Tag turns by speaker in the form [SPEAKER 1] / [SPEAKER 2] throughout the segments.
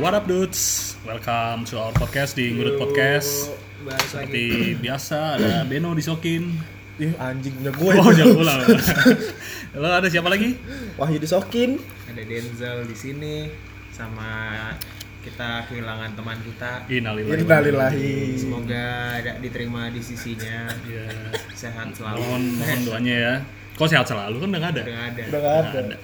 [SPEAKER 1] what up dudes? Welcome to our podcast di Ngurut Podcast.
[SPEAKER 2] Balik lagi.
[SPEAKER 1] Seperti biasa ada Beno di Sokin.
[SPEAKER 3] Ih anjing punya gue
[SPEAKER 1] Oh,
[SPEAKER 3] itu.
[SPEAKER 1] jangan ulang. Lo ada siapa lagi?
[SPEAKER 3] Wahyu disokin
[SPEAKER 2] Ada Denzel di sini sama kita kehilangan teman kita.
[SPEAKER 3] Iya,
[SPEAKER 1] Innalillahi. wa inna ilaihi
[SPEAKER 3] Innalillahi
[SPEAKER 2] Semoga ada diterima di sisinya.
[SPEAKER 1] Ya,
[SPEAKER 2] Sehat selalu.
[SPEAKER 1] mohon mohon doanya ya. Kok sehat selalu kan udah nggak ada.
[SPEAKER 2] Udah nggak ada.
[SPEAKER 3] Udah gak ada
[SPEAKER 1] Nggak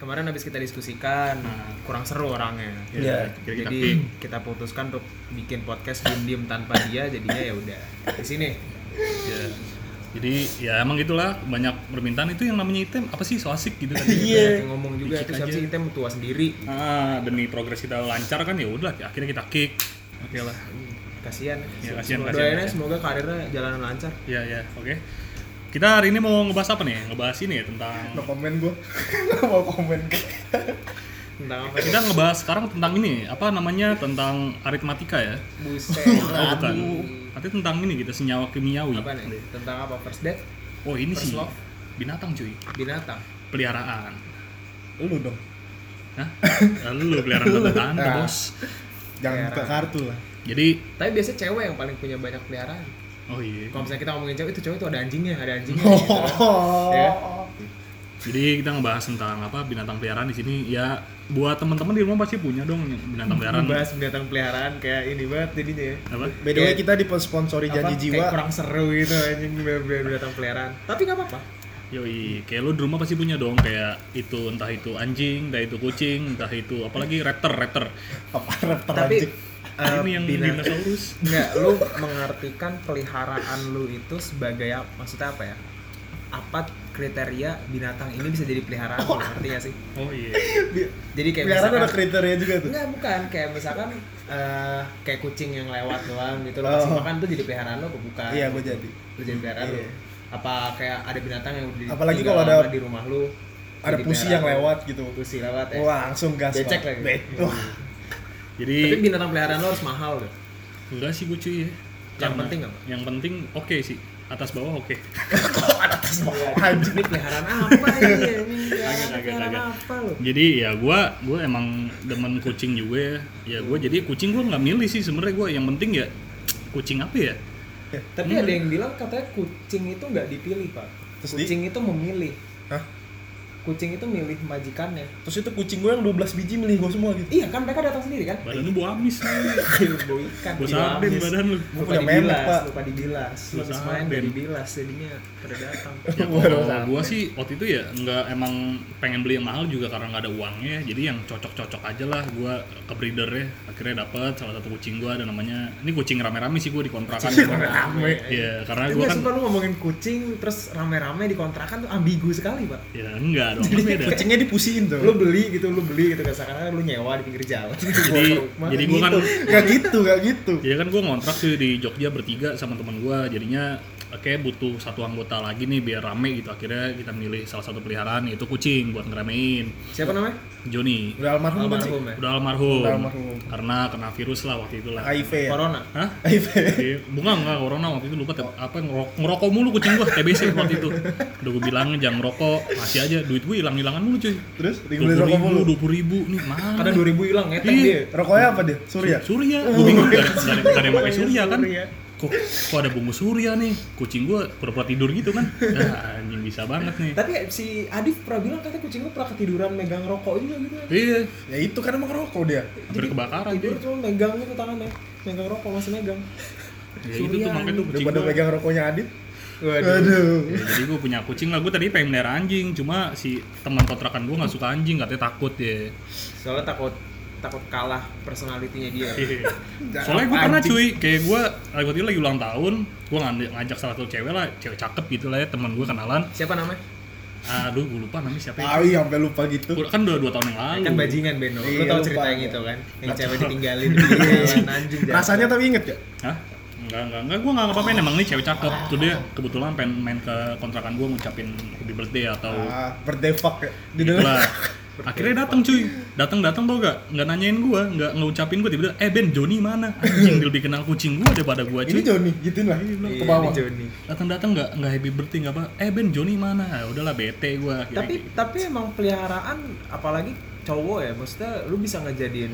[SPEAKER 2] Kemarin habis kita diskusikan kurang seru orangnya.
[SPEAKER 3] Iya.
[SPEAKER 1] Jadi kita
[SPEAKER 2] Jadi
[SPEAKER 1] pick.
[SPEAKER 2] kita putuskan untuk bikin podcast diem-diem tanpa dia jadinya ya udah. Di sini.
[SPEAKER 1] Ya. Jadi ya emang gitulah banyak permintaan itu yang namanya item apa sih so asik gitu kan.
[SPEAKER 3] Iya.
[SPEAKER 2] Banyak yang ngomong juga
[SPEAKER 1] Dikit
[SPEAKER 2] itu siapa
[SPEAKER 1] aja.
[SPEAKER 2] sih kita tua sendiri.
[SPEAKER 1] Ah, demi progres kita lancar kan ya udah akhirnya kita kick. Oke lah.
[SPEAKER 2] Kasihan.
[SPEAKER 1] Ya, kasihan,
[SPEAKER 2] Semoga-
[SPEAKER 1] kasihan,
[SPEAKER 2] Doainnya
[SPEAKER 1] kasihan.
[SPEAKER 2] semoga karirnya jalanan lancar.
[SPEAKER 1] Ya ya, oke. Kita hari ini mau ngebahas apa nih? Ngebahas ini ya tentang
[SPEAKER 3] No komen gue Gak mau komen
[SPEAKER 2] Tentang apa?
[SPEAKER 1] kita ngebahas sekarang tentang ini apa namanya tentang aritmatika ya?
[SPEAKER 2] Buset.
[SPEAKER 1] Oh bukan. Tapi tentang ini kita senyawa kimiawi.
[SPEAKER 2] apa nih tentang apa first date
[SPEAKER 1] Oh ini
[SPEAKER 2] First
[SPEAKER 1] sih
[SPEAKER 2] love.
[SPEAKER 1] binatang cuy,
[SPEAKER 2] binatang
[SPEAKER 1] peliharaan.
[SPEAKER 3] Lu dong
[SPEAKER 1] Hah? Lalu peliharaan binatang,
[SPEAKER 3] Ah.
[SPEAKER 1] bos.
[SPEAKER 3] Jangan
[SPEAKER 2] Heran.
[SPEAKER 3] buka kartu lah
[SPEAKER 1] Jadi
[SPEAKER 2] tapi biasanya cewek yang paling punya banyak peliharaan
[SPEAKER 1] oh iya.
[SPEAKER 2] kalau misalnya kita ngomongin cewek itu cewek itu ada anjingnya ada anjingnya gitu. Ya.
[SPEAKER 3] Oh
[SPEAKER 1] Jadi kita ngebahas tentang apa binatang peliharaan di sini ya buat teman-teman di rumah pasti punya dong binatang peliharaan.
[SPEAKER 2] bahas binatang peliharaan kayak ini banget jadinya ya.
[SPEAKER 1] Apa?
[SPEAKER 3] By the way
[SPEAKER 2] Kayak-
[SPEAKER 3] kita disponsori
[SPEAKER 2] Apa,
[SPEAKER 3] janji
[SPEAKER 2] kayak
[SPEAKER 3] jiwa
[SPEAKER 2] kurang seru gitu anjing bin- bin- binatang peliharaan tapi nggak apa-apa
[SPEAKER 1] Yoi, kayak lu di rumah pasti punya dong kayak itu entah itu anjing, entah itu kucing, entah itu apalagi raptor, raptor.
[SPEAKER 3] Apa raptor
[SPEAKER 2] tapi
[SPEAKER 3] anjing
[SPEAKER 2] eh,
[SPEAKER 1] ini yang
[SPEAKER 2] bina-
[SPEAKER 1] dinosaurus.
[SPEAKER 2] nggak lu mengartikan peliharaan lu itu sebagai apa maksudnya apa ya apa kriteria binatang ini bisa jadi peliharaan lu ngerti nggak sih
[SPEAKER 1] Oh iya.
[SPEAKER 2] jadi kayak
[SPEAKER 3] Peliharaan ada
[SPEAKER 2] misalkan-
[SPEAKER 3] kriteria juga tuh
[SPEAKER 2] Enggak, bukan. Kayak misalkan eh, kayak kucing yang lewat doang gitu.
[SPEAKER 3] Oh.
[SPEAKER 2] Lo kasih makan tuh jadi peliharaan lo apa bukan?
[SPEAKER 3] Iya gue jadi
[SPEAKER 2] Lo jadi peliharaan
[SPEAKER 3] Iya.
[SPEAKER 2] lo. Apa kayak ada binatang yang di,
[SPEAKER 3] Apalagi
[SPEAKER 2] tinggal
[SPEAKER 3] kalau ada-
[SPEAKER 2] lama di rumah lo?
[SPEAKER 3] Ada
[SPEAKER 2] jadi
[SPEAKER 3] pusi
[SPEAKER 2] peliharaan
[SPEAKER 3] yang
[SPEAKER 2] lo.
[SPEAKER 3] lewat gitu
[SPEAKER 2] Pusi lewat ya.
[SPEAKER 3] Wah langsung gas
[SPEAKER 2] Becek
[SPEAKER 3] Pak.
[SPEAKER 2] lagi.
[SPEAKER 3] Be- Wah
[SPEAKER 1] Jadi
[SPEAKER 2] Tapi binatang peliharaan lo harus mahal ya. loh.
[SPEAKER 1] enggak sih gue cuy ya.
[SPEAKER 2] Yang penting apa?
[SPEAKER 1] Yang penting oke sih. Atas bawah oke.
[SPEAKER 3] atas bawah
[SPEAKER 2] Anjing ini peliharaan apa ya?
[SPEAKER 1] Agak, agak,
[SPEAKER 2] Peliharaan
[SPEAKER 1] agak.
[SPEAKER 2] apa lo?
[SPEAKER 1] Jadi ya gua gua emang demen kucing juga ya. Ya gua jadi kucing gua nggak milih sih sebenarnya gua yang penting ya kucing apa ya?
[SPEAKER 2] Tapi ada yang bilang katanya kucing itu nggak dipilih pak.
[SPEAKER 3] Terus di-
[SPEAKER 2] kucing itu memilih.
[SPEAKER 3] Hah?
[SPEAKER 2] Kucing itu milih majikannya.
[SPEAKER 3] Terus itu kucing gue yang 12 biji milih gue semua gitu
[SPEAKER 2] Iya kan mereka datang sendiri kan?
[SPEAKER 1] Badan lu bau amis. lu.
[SPEAKER 2] Bau ikan.
[SPEAKER 1] Bau
[SPEAKER 2] bau
[SPEAKER 1] sarden
[SPEAKER 2] amis.
[SPEAKER 1] badan lu.
[SPEAKER 2] lupa
[SPEAKER 3] Udah
[SPEAKER 2] dibilas,
[SPEAKER 3] memek, Pak.
[SPEAKER 2] lupa dibilas,
[SPEAKER 1] Lu
[SPEAKER 2] lupa
[SPEAKER 1] sarden.
[SPEAKER 2] main dari dibilas jadinya pada datang.
[SPEAKER 1] Ya,
[SPEAKER 3] Waduh,
[SPEAKER 1] kalau
[SPEAKER 3] sampai.
[SPEAKER 1] gua sih waktu itu ya nggak emang pengen beli yang mahal juga karena nggak ada uangnya jadi yang cocok-cocok aja lah gua ke breeder ya akhirnya dapet salah satu kucing gua ada namanya ini kucing rame-rame sih gua dikontrakan gitu.
[SPEAKER 3] Rame
[SPEAKER 1] Iya, karena
[SPEAKER 2] Tapi
[SPEAKER 1] gua
[SPEAKER 2] nggak
[SPEAKER 1] kan
[SPEAKER 2] suka lu ngomongin kucing terus rame-rame di kontrakan tuh ambigu sekali pak.
[SPEAKER 1] ya enggak dong kan beda.
[SPEAKER 3] Kucingnya dipusiin tuh
[SPEAKER 2] Lu beli gitu, lu beli gitu seakan-akan lu nyewa di pinggir jalan.
[SPEAKER 1] Jadi jadi gua kan
[SPEAKER 3] Gak gitu gak gitu
[SPEAKER 1] jadi kan gua ngontrak tuh di Jogja bertiga sama teman gua jadinya kayak butuh satu anggota lagi nih biar rame gitu akhirnya kita milih salah satu peliharaan yaitu kucing buat ngeramein
[SPEAKER 2] Siapa namanya?
[SPEAKER 1] Joni
[SPEAKER 3] Udah almarhum kan sih
[SPEAKER 2] Almarhum ya.
[SPEAKER 1] udah almarhum,
[SPEAKER 3] Udah almarhum.
[SPEAKER 1] karena kena virus lah waktu itu lah
[SPEAKER 3] HIV ya
[SPEAKER 2] Corona.
[SPEAKER 1] Hah?
[SPEAKER 3] HIV
[SPEAKER 1] Iya, bunga enggak corona waktu itu lupa tiap- apa ngerokok, ngerokok mulu kucing gua TBC waktu itu. Udah gua bilangin jangan ngerokok, masih aja duit gua hilang-hilangan mulu cuy.
[SPEAKER 3] Terus dibeli
[SPEAKER 1] 20
[SPEAKER 3] rokok
[SPEAKER 1] ribu,
[SPEAKER 3] mulu
[SPEAKER 1] 20 ribu, nih mana?
[SPEAKER 2] Kadang dua ribu hilang ngeteng
[SPEAKER 1] Iya.
[SPEAKER 2] dia.
[SPEAKER 3] Rokoknya apa dia? Surya?
[SPEAKER 1] Surya, gua bingung gak ada, nggak ada- nggak ada yang pakai surya kan?
[SPEAKER 2] Surya.
[SPEAKER 1] Kok, kok ada bumbu surya nih? Kucing gua pura-pura tidur gitu kan? Ah, anjing bisa banget nih.
[SPEAKER 2] Tapi si Adif pernah bilang katanya kucing lu pernah ketiduran megang rokok juga gitu.
[SPEAKER 1] Iya,
[SPEAKER 3] Ya itu kan emang rokok dia.
[SPEAKER 1] hampir kebakaran
[SPEAKER 2] Tidur
[SPEAKER 1] tuh.
[SPEAKER 2] cuma megang gitu tangannya. Megang rokok masih megang.
[SPEAKER 1] Ya itu tuh
[SPEAKER 2] Surya,
[SPEAKER 1] makanya tuh kucing
[SPEAKER 3] Daripada
[SPEAKER 1] gua.
[SPEAKER 3] pegang rokoknya Adit.
[SPEAKER 2] Waduh.
[SPEAKER 3] Aduh.
[SPEAKER 1] Ya, jadi gue punya kucing lah, gue tadi pengen melihara anjing, cuma si teman kontrakan gue nggak suka anjing, katanya takut ya.
[SPEAKER 2] Soalnya takut takut kalah personalitinya dia.
[SPEAKER 3] Iya.
[SPEAKER 1] Soalnya gue pernah
[SPEAKER 2] Anjing.
[SPEAKER 1] cuy, kayak gue waktu itu lagi ulang tahun, gue ngajak salah satu cewek lah, cewek cakep gitu lah ya, teman gue kenalan.
[SPEAKER 2] Siapa namanya?
[SPEAKER 1] Aduh, gue lupa namanya siapa. ya.
[SPEAKER 3] Tahu sampai lupa gitu.
[SPEAKER 1] Gua- Kan udah dua tahun yang lalu.
[SPEAKER 2] kan bajingan Beno,
[SPEAKER 3] Iya,
[SPEAKER 2] lu tau
[SPEAKER 3] lupa. Iya,
[SPEAKER 2] cerita yang itu kan yang cewek ditinggalin di jalan anjing jalan.
[SPEAKER 3] Rasanya tapi inget ya?
[SPEAKER 1] Hah? Enggak, enggak, enggak, gue enggak ngapain emang nih cewek cakep Tuh dia kebetulan pengen main ke kontrakan gue ngucapin happy birthday atau
[SPEAKER 3] Ah, berdefak ya. Di
[SPEAKER 1] gitu
[SPEAKER 3] dalam.
[SPEAKER 1] lah Akhirnya datang cuy, datang datang tau gak? Nggak nanyain gue, nggak ngucapin gue tiba-tiba, eh Ben Joni mana? Anjing dia lebih kenal kucing gue daripada gue cuy.
[SPEAKER 3] Ini Joni, gituin lah.
[SPEAKER 2] Iya,
[SPEAKER 3] Ke
[SPEAKER 2] ini
[SPEAKER 3] bawah.
[SPEAKER 2] Joni.
[SPEAKER 1] datang-datang nggak nggak happy birthday nggak apa eh Ben Joni mana ah, udahlah bete gue
[SPEAKER 3] gitu.
[SPEAKER 2] Tapi tapi emang peliharaan apalagi cowok ya maksudnya lu bisa ngejadiin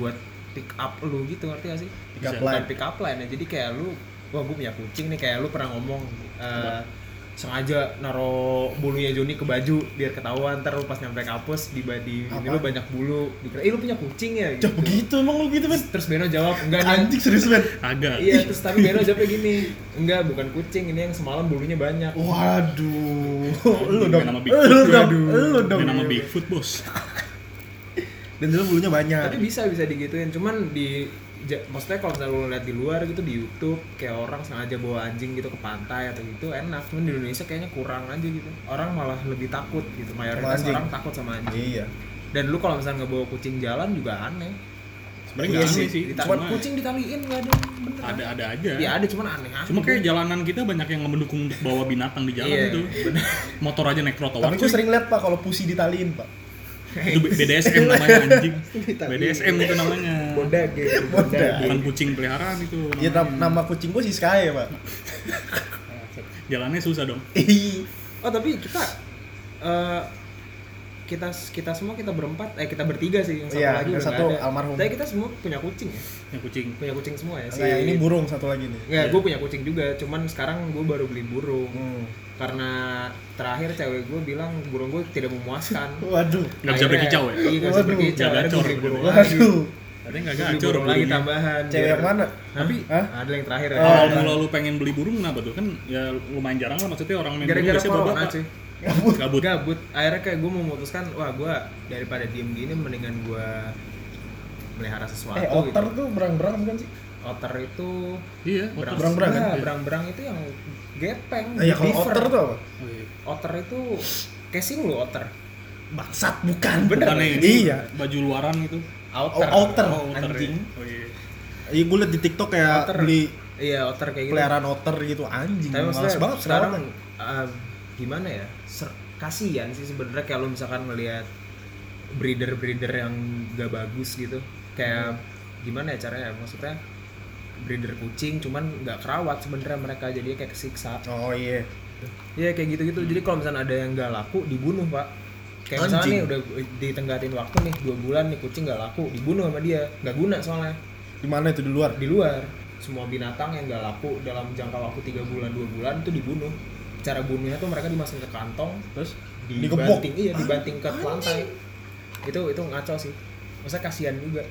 [SPEAKER 2] buat pick up lu gitu ngerti gak sih
[SPEAKER 3] Pick up
[SPEAKER 1] Bisa.
[SPEAKER 2] bukan
[SPEAKER 3] line.
[SPEAKER 2] pick up line ya jadi kayak lu wah gue punya kucing nih kayak lu pernah ngomong eh, sengaja naro bulunya Joni ke baju biar ketahuan ntar lu pas nyampe kampus di di ini
[SPEAKER 3] Apa?
[SPEAKER 2] lu banyak bulu dikira eh lu punya kucing ya gitu
[SPEAKER 3] Coba gitu emang lu gitu men.
[SPEAKER 2] terus Beno jawab enggak nih
[SPEAKER 3] Anjing serius men.
[SPEAKER 1] agak
[SPEAKER 2] iya terus tapi Beno jawabnya gini enggak bukan kucing ini yang semalam bulunya banyak
[SPEAKER 3] Waduh. Lu
[SPEAKER 1] Main
[SPEAKER 3] dong.
[SPEAKER 1] sama Bigfoot,
[SPEAKER 3] Lu dong.
[SPEAKER 2] waduh.
[SPEAKER 3] Lu dong. Iya.
[SPEAKER 1] main nama Bigfoot bos
[SPEAKER 3] Dan dulu bulunya
[SPEAKER 2] tapi
[SPEAKER 3] banyak.
[SPEAKER 2] bisa bisa digituin cuman di ja- maksudnya kalau misalnya lu lihat di luar gitu di YouTube kayak orang sengaja bawa anjing gitu ke pantai atau gitu enak cuman di Indonesia kayaknya kurang aja gitu orang malah lebih takut gitu
[SPEAKER 3] Sama
[SPEAKER 2] mayoritas
[SPEAKER 3] anjing.
[SPEAKER 2] orang takut sama anjing
[SPEAKER 3] Iya.
[SPEAKER 2] dan lu kalau misalnya nggak bawa kucing jalan juga aneh
[SPEAKER 1] sebenarnya
[SPEAKER 3] Iya
[SPEAKER 1] nggak aneh
[SPEAKER 3] sih,
[SPEAKER 1] sih
[SPEAKER 2] Ditali-
[SPEAKER 1] cuma
[SPEAKER 2] kucing ditaliin nggak ada yang bener
[SPEAKER 1] ada ada aja
[SPEAKER 3] Iya.
[SPEAKER 2] ya ada cuman aneh aja
[SPEAKER 1] cuma kayak jalanan kita banyak yang mendukung untuk bawa binatang di jalan
[SPEAKER 2] Iya.
[SPEAKER 1] itu motor aja naik trotoar
[SPEAKER 3] Tapi gue
[SPEAKER 1] cuy.
[SPEAKER 3] sering lihat pak kalau pusi ditaliin pak.
[SPEAKER 1] itu B- BDSM namanya anjing
[SPEAKER 2] Ditaliin.
[SPEAKER 1] BDSM itu namanya
[SPEAKER 2] bodak gitu
[SPEAKER 3] Bodak.
[SPEAKER 1] bukan kucing peliharaan itu
[SPEAKER 3] Iya
[SPEAKER 1] namanya.
[SPEAKER 3] nam- nama kucing gue si Sky ya, pak.
[SPEAKER 1] jalannya susah dong
[SPEAKER 3] Ih,
[SPEAKER 2] Oh tapi kita eh, kita kita semua kita berempat eh kita bertiga sih yang satu
[SPEAKER 3] Iya,
[SPEAKER 2] lagi
[SPEAKER 3] yang
[SPEAKER 2] udah
[SPEAKER 3] satu
[SPEAKER 2] nggak ada.
[SPEAKER 3] almarhum.
[SPEAKER 2] Tapi kita semua punya kucing ya.
[SPEAKER 1] yang kucing
[SPEAKER 2] Punya kucing semua ya.
[SPEAKER 3] Nah, ini burung satu lagi nih.
[SPEAKER 2] Nggak, gue Ya, punya kucing juga. Cuman sekarang gue baru beli burung
[SPEAKER 3] Hmm.
[SPEAKER 2] karena terakhir cewek gue bilang burung gue tidak memuaskan.
[SPEAKER 3] Waduh.
[SPEAKER 1] nggak bisa
[SPEAKER 2] Akhirnya-
[SPEAKER 1] berkicau ya
[SPEAKER 2] Iya nggak bisa
[SPEAKER 3] Waduh,
[SPEAKER 2] berkicau.
[SPEAKER 1] nggak
[SPEAKER 2] Akhirnya gue
[SPEAKER 1] gacor.
[SPEAKER 2] beli burung lagi.
[SPEAKER 3] Waduh. Iya,
[SPEAKER 1] katanya nggak
[SPEAKER 2] Gue beli
[SPEAKER 1] gacor
[SPEAKER 2] burung lagi
[SPEAKER 1] burungnya.
[SPEAKER 2] tambahan.
[SPEAKER 3] Cewek
[SPEAKER 2] biar-
[SPEAKER 3] yang mana?
[SPEAKER 2] Tapi
[SPEAKER 3] Hah?
[SPEAKER 2] ada yang terakhir. ya.
[SPEAKER 1] Kalau
[SPEAKER 3] Oh.
[SPEAKER 1] lu- lu pengen beli burung kenapa tuh? Kan ya lumayan jarang lah maksudnya orang main burung
[SPEAKER 2] Gara-gara
[SPEAKER 1] biasanya bawa
[SPEAKER 2] corona
[SPEAKER 1] bapak
[SPEAKER 2] cuy.
[SPEAKER 3] Gabut.
[SPEAKER 1] Gabut.
[SPEAKER 2] gabut akhirnya kayak gue memutuskan wah gue daripada diem gini mendingan gue melihara sesuatu
[SPEAKER 3] Eh, otter
[SPEAKER 2] gitu.
[SPEAKER 3] tuh berang-berang bukan sih?
[SPEAKER 2] otter itu
[SPEAKER 1] Iya,
[SPEAKER 2] berang-
[SPEAKER 1] otter.
[SPEAKER 3] berang-berang kan?
[SPEAKER 2] Nah, berang-berang itu yang gepeng
[SPEAKER 3] Nah, ya kalau
[SPEAKER 2] beaver.
[SPEAKER 3] otter tuh apa?
[SPEAKER 1] Oh, iya.
[SPEAKER 2] Otter itu casing lu otter
[SPEAKER 3] Bangsat bukan.
[SPEAKER 1] Bukannya ini
[SPEAKER 3] Iya.
[SPEAKER 1] baju luaran gitu.
[SPEAKER 2] outer
[SPEAKER 3] O- outer.
[SPEAKER 1] Oh, otter ya.
[SPEAKER 3] Anjing.
[SPEAKER 1] Oh, iya.
[SPEAKER 3] Iya gue liat di TikTok kayak
[SPEAKER 2] Otter.
[SPEAKER 3] beli
[SPEAKER 2] iya otter kayak gitu
[SPEAKER 3] peliharaan otter gitu anjing.
[SPEAKER 2] tapi
[SPEAKER 3] Males
[SPEAKER 2] maksudnya
[SPEAKER 3] banget sekarang.
[SPEAKER 2] sekarang eh, gimana ya Ser- kasihan sih sebenarnya kalau misalkan melihat breeder breeder yang gak bagus gitu kayak
[SPEAKER 3] Hmm.
[SPEAKER 2] gimana ya caranya maksudnya breeder kucing cuman nggak kerawat sebenarnya mereka jadi kayak kesiksa
[SPEAKER 3] Oh iya.
[SPEAKER 2] Iya kayak gitu-gitu. Jadi kalau misalnya ada yang nggak laku dibunuh pak. Kayak misalnya
[SPEAKER 3] Anjing.
[SPEAKER 2] nih udah ditenggatin waktu nih dua bulan nih kucing nggak laku dibunuh sama dia nggak guna soalnya
[SPEAKER 3] Di mana itu di luar?
[SPEAKER 2] di luar semua binatang yang nggak laku dalam jangka waktu tiga bulan dua bulan itu dibunuh cara bunuhnya tuh mereka dimasukin ke kantong terus
[SPEAKER 3] Digepok.
[SPEAKER 2] dibanting iya dibanting ke lantai itu itu ngaco sih masa kasihan juga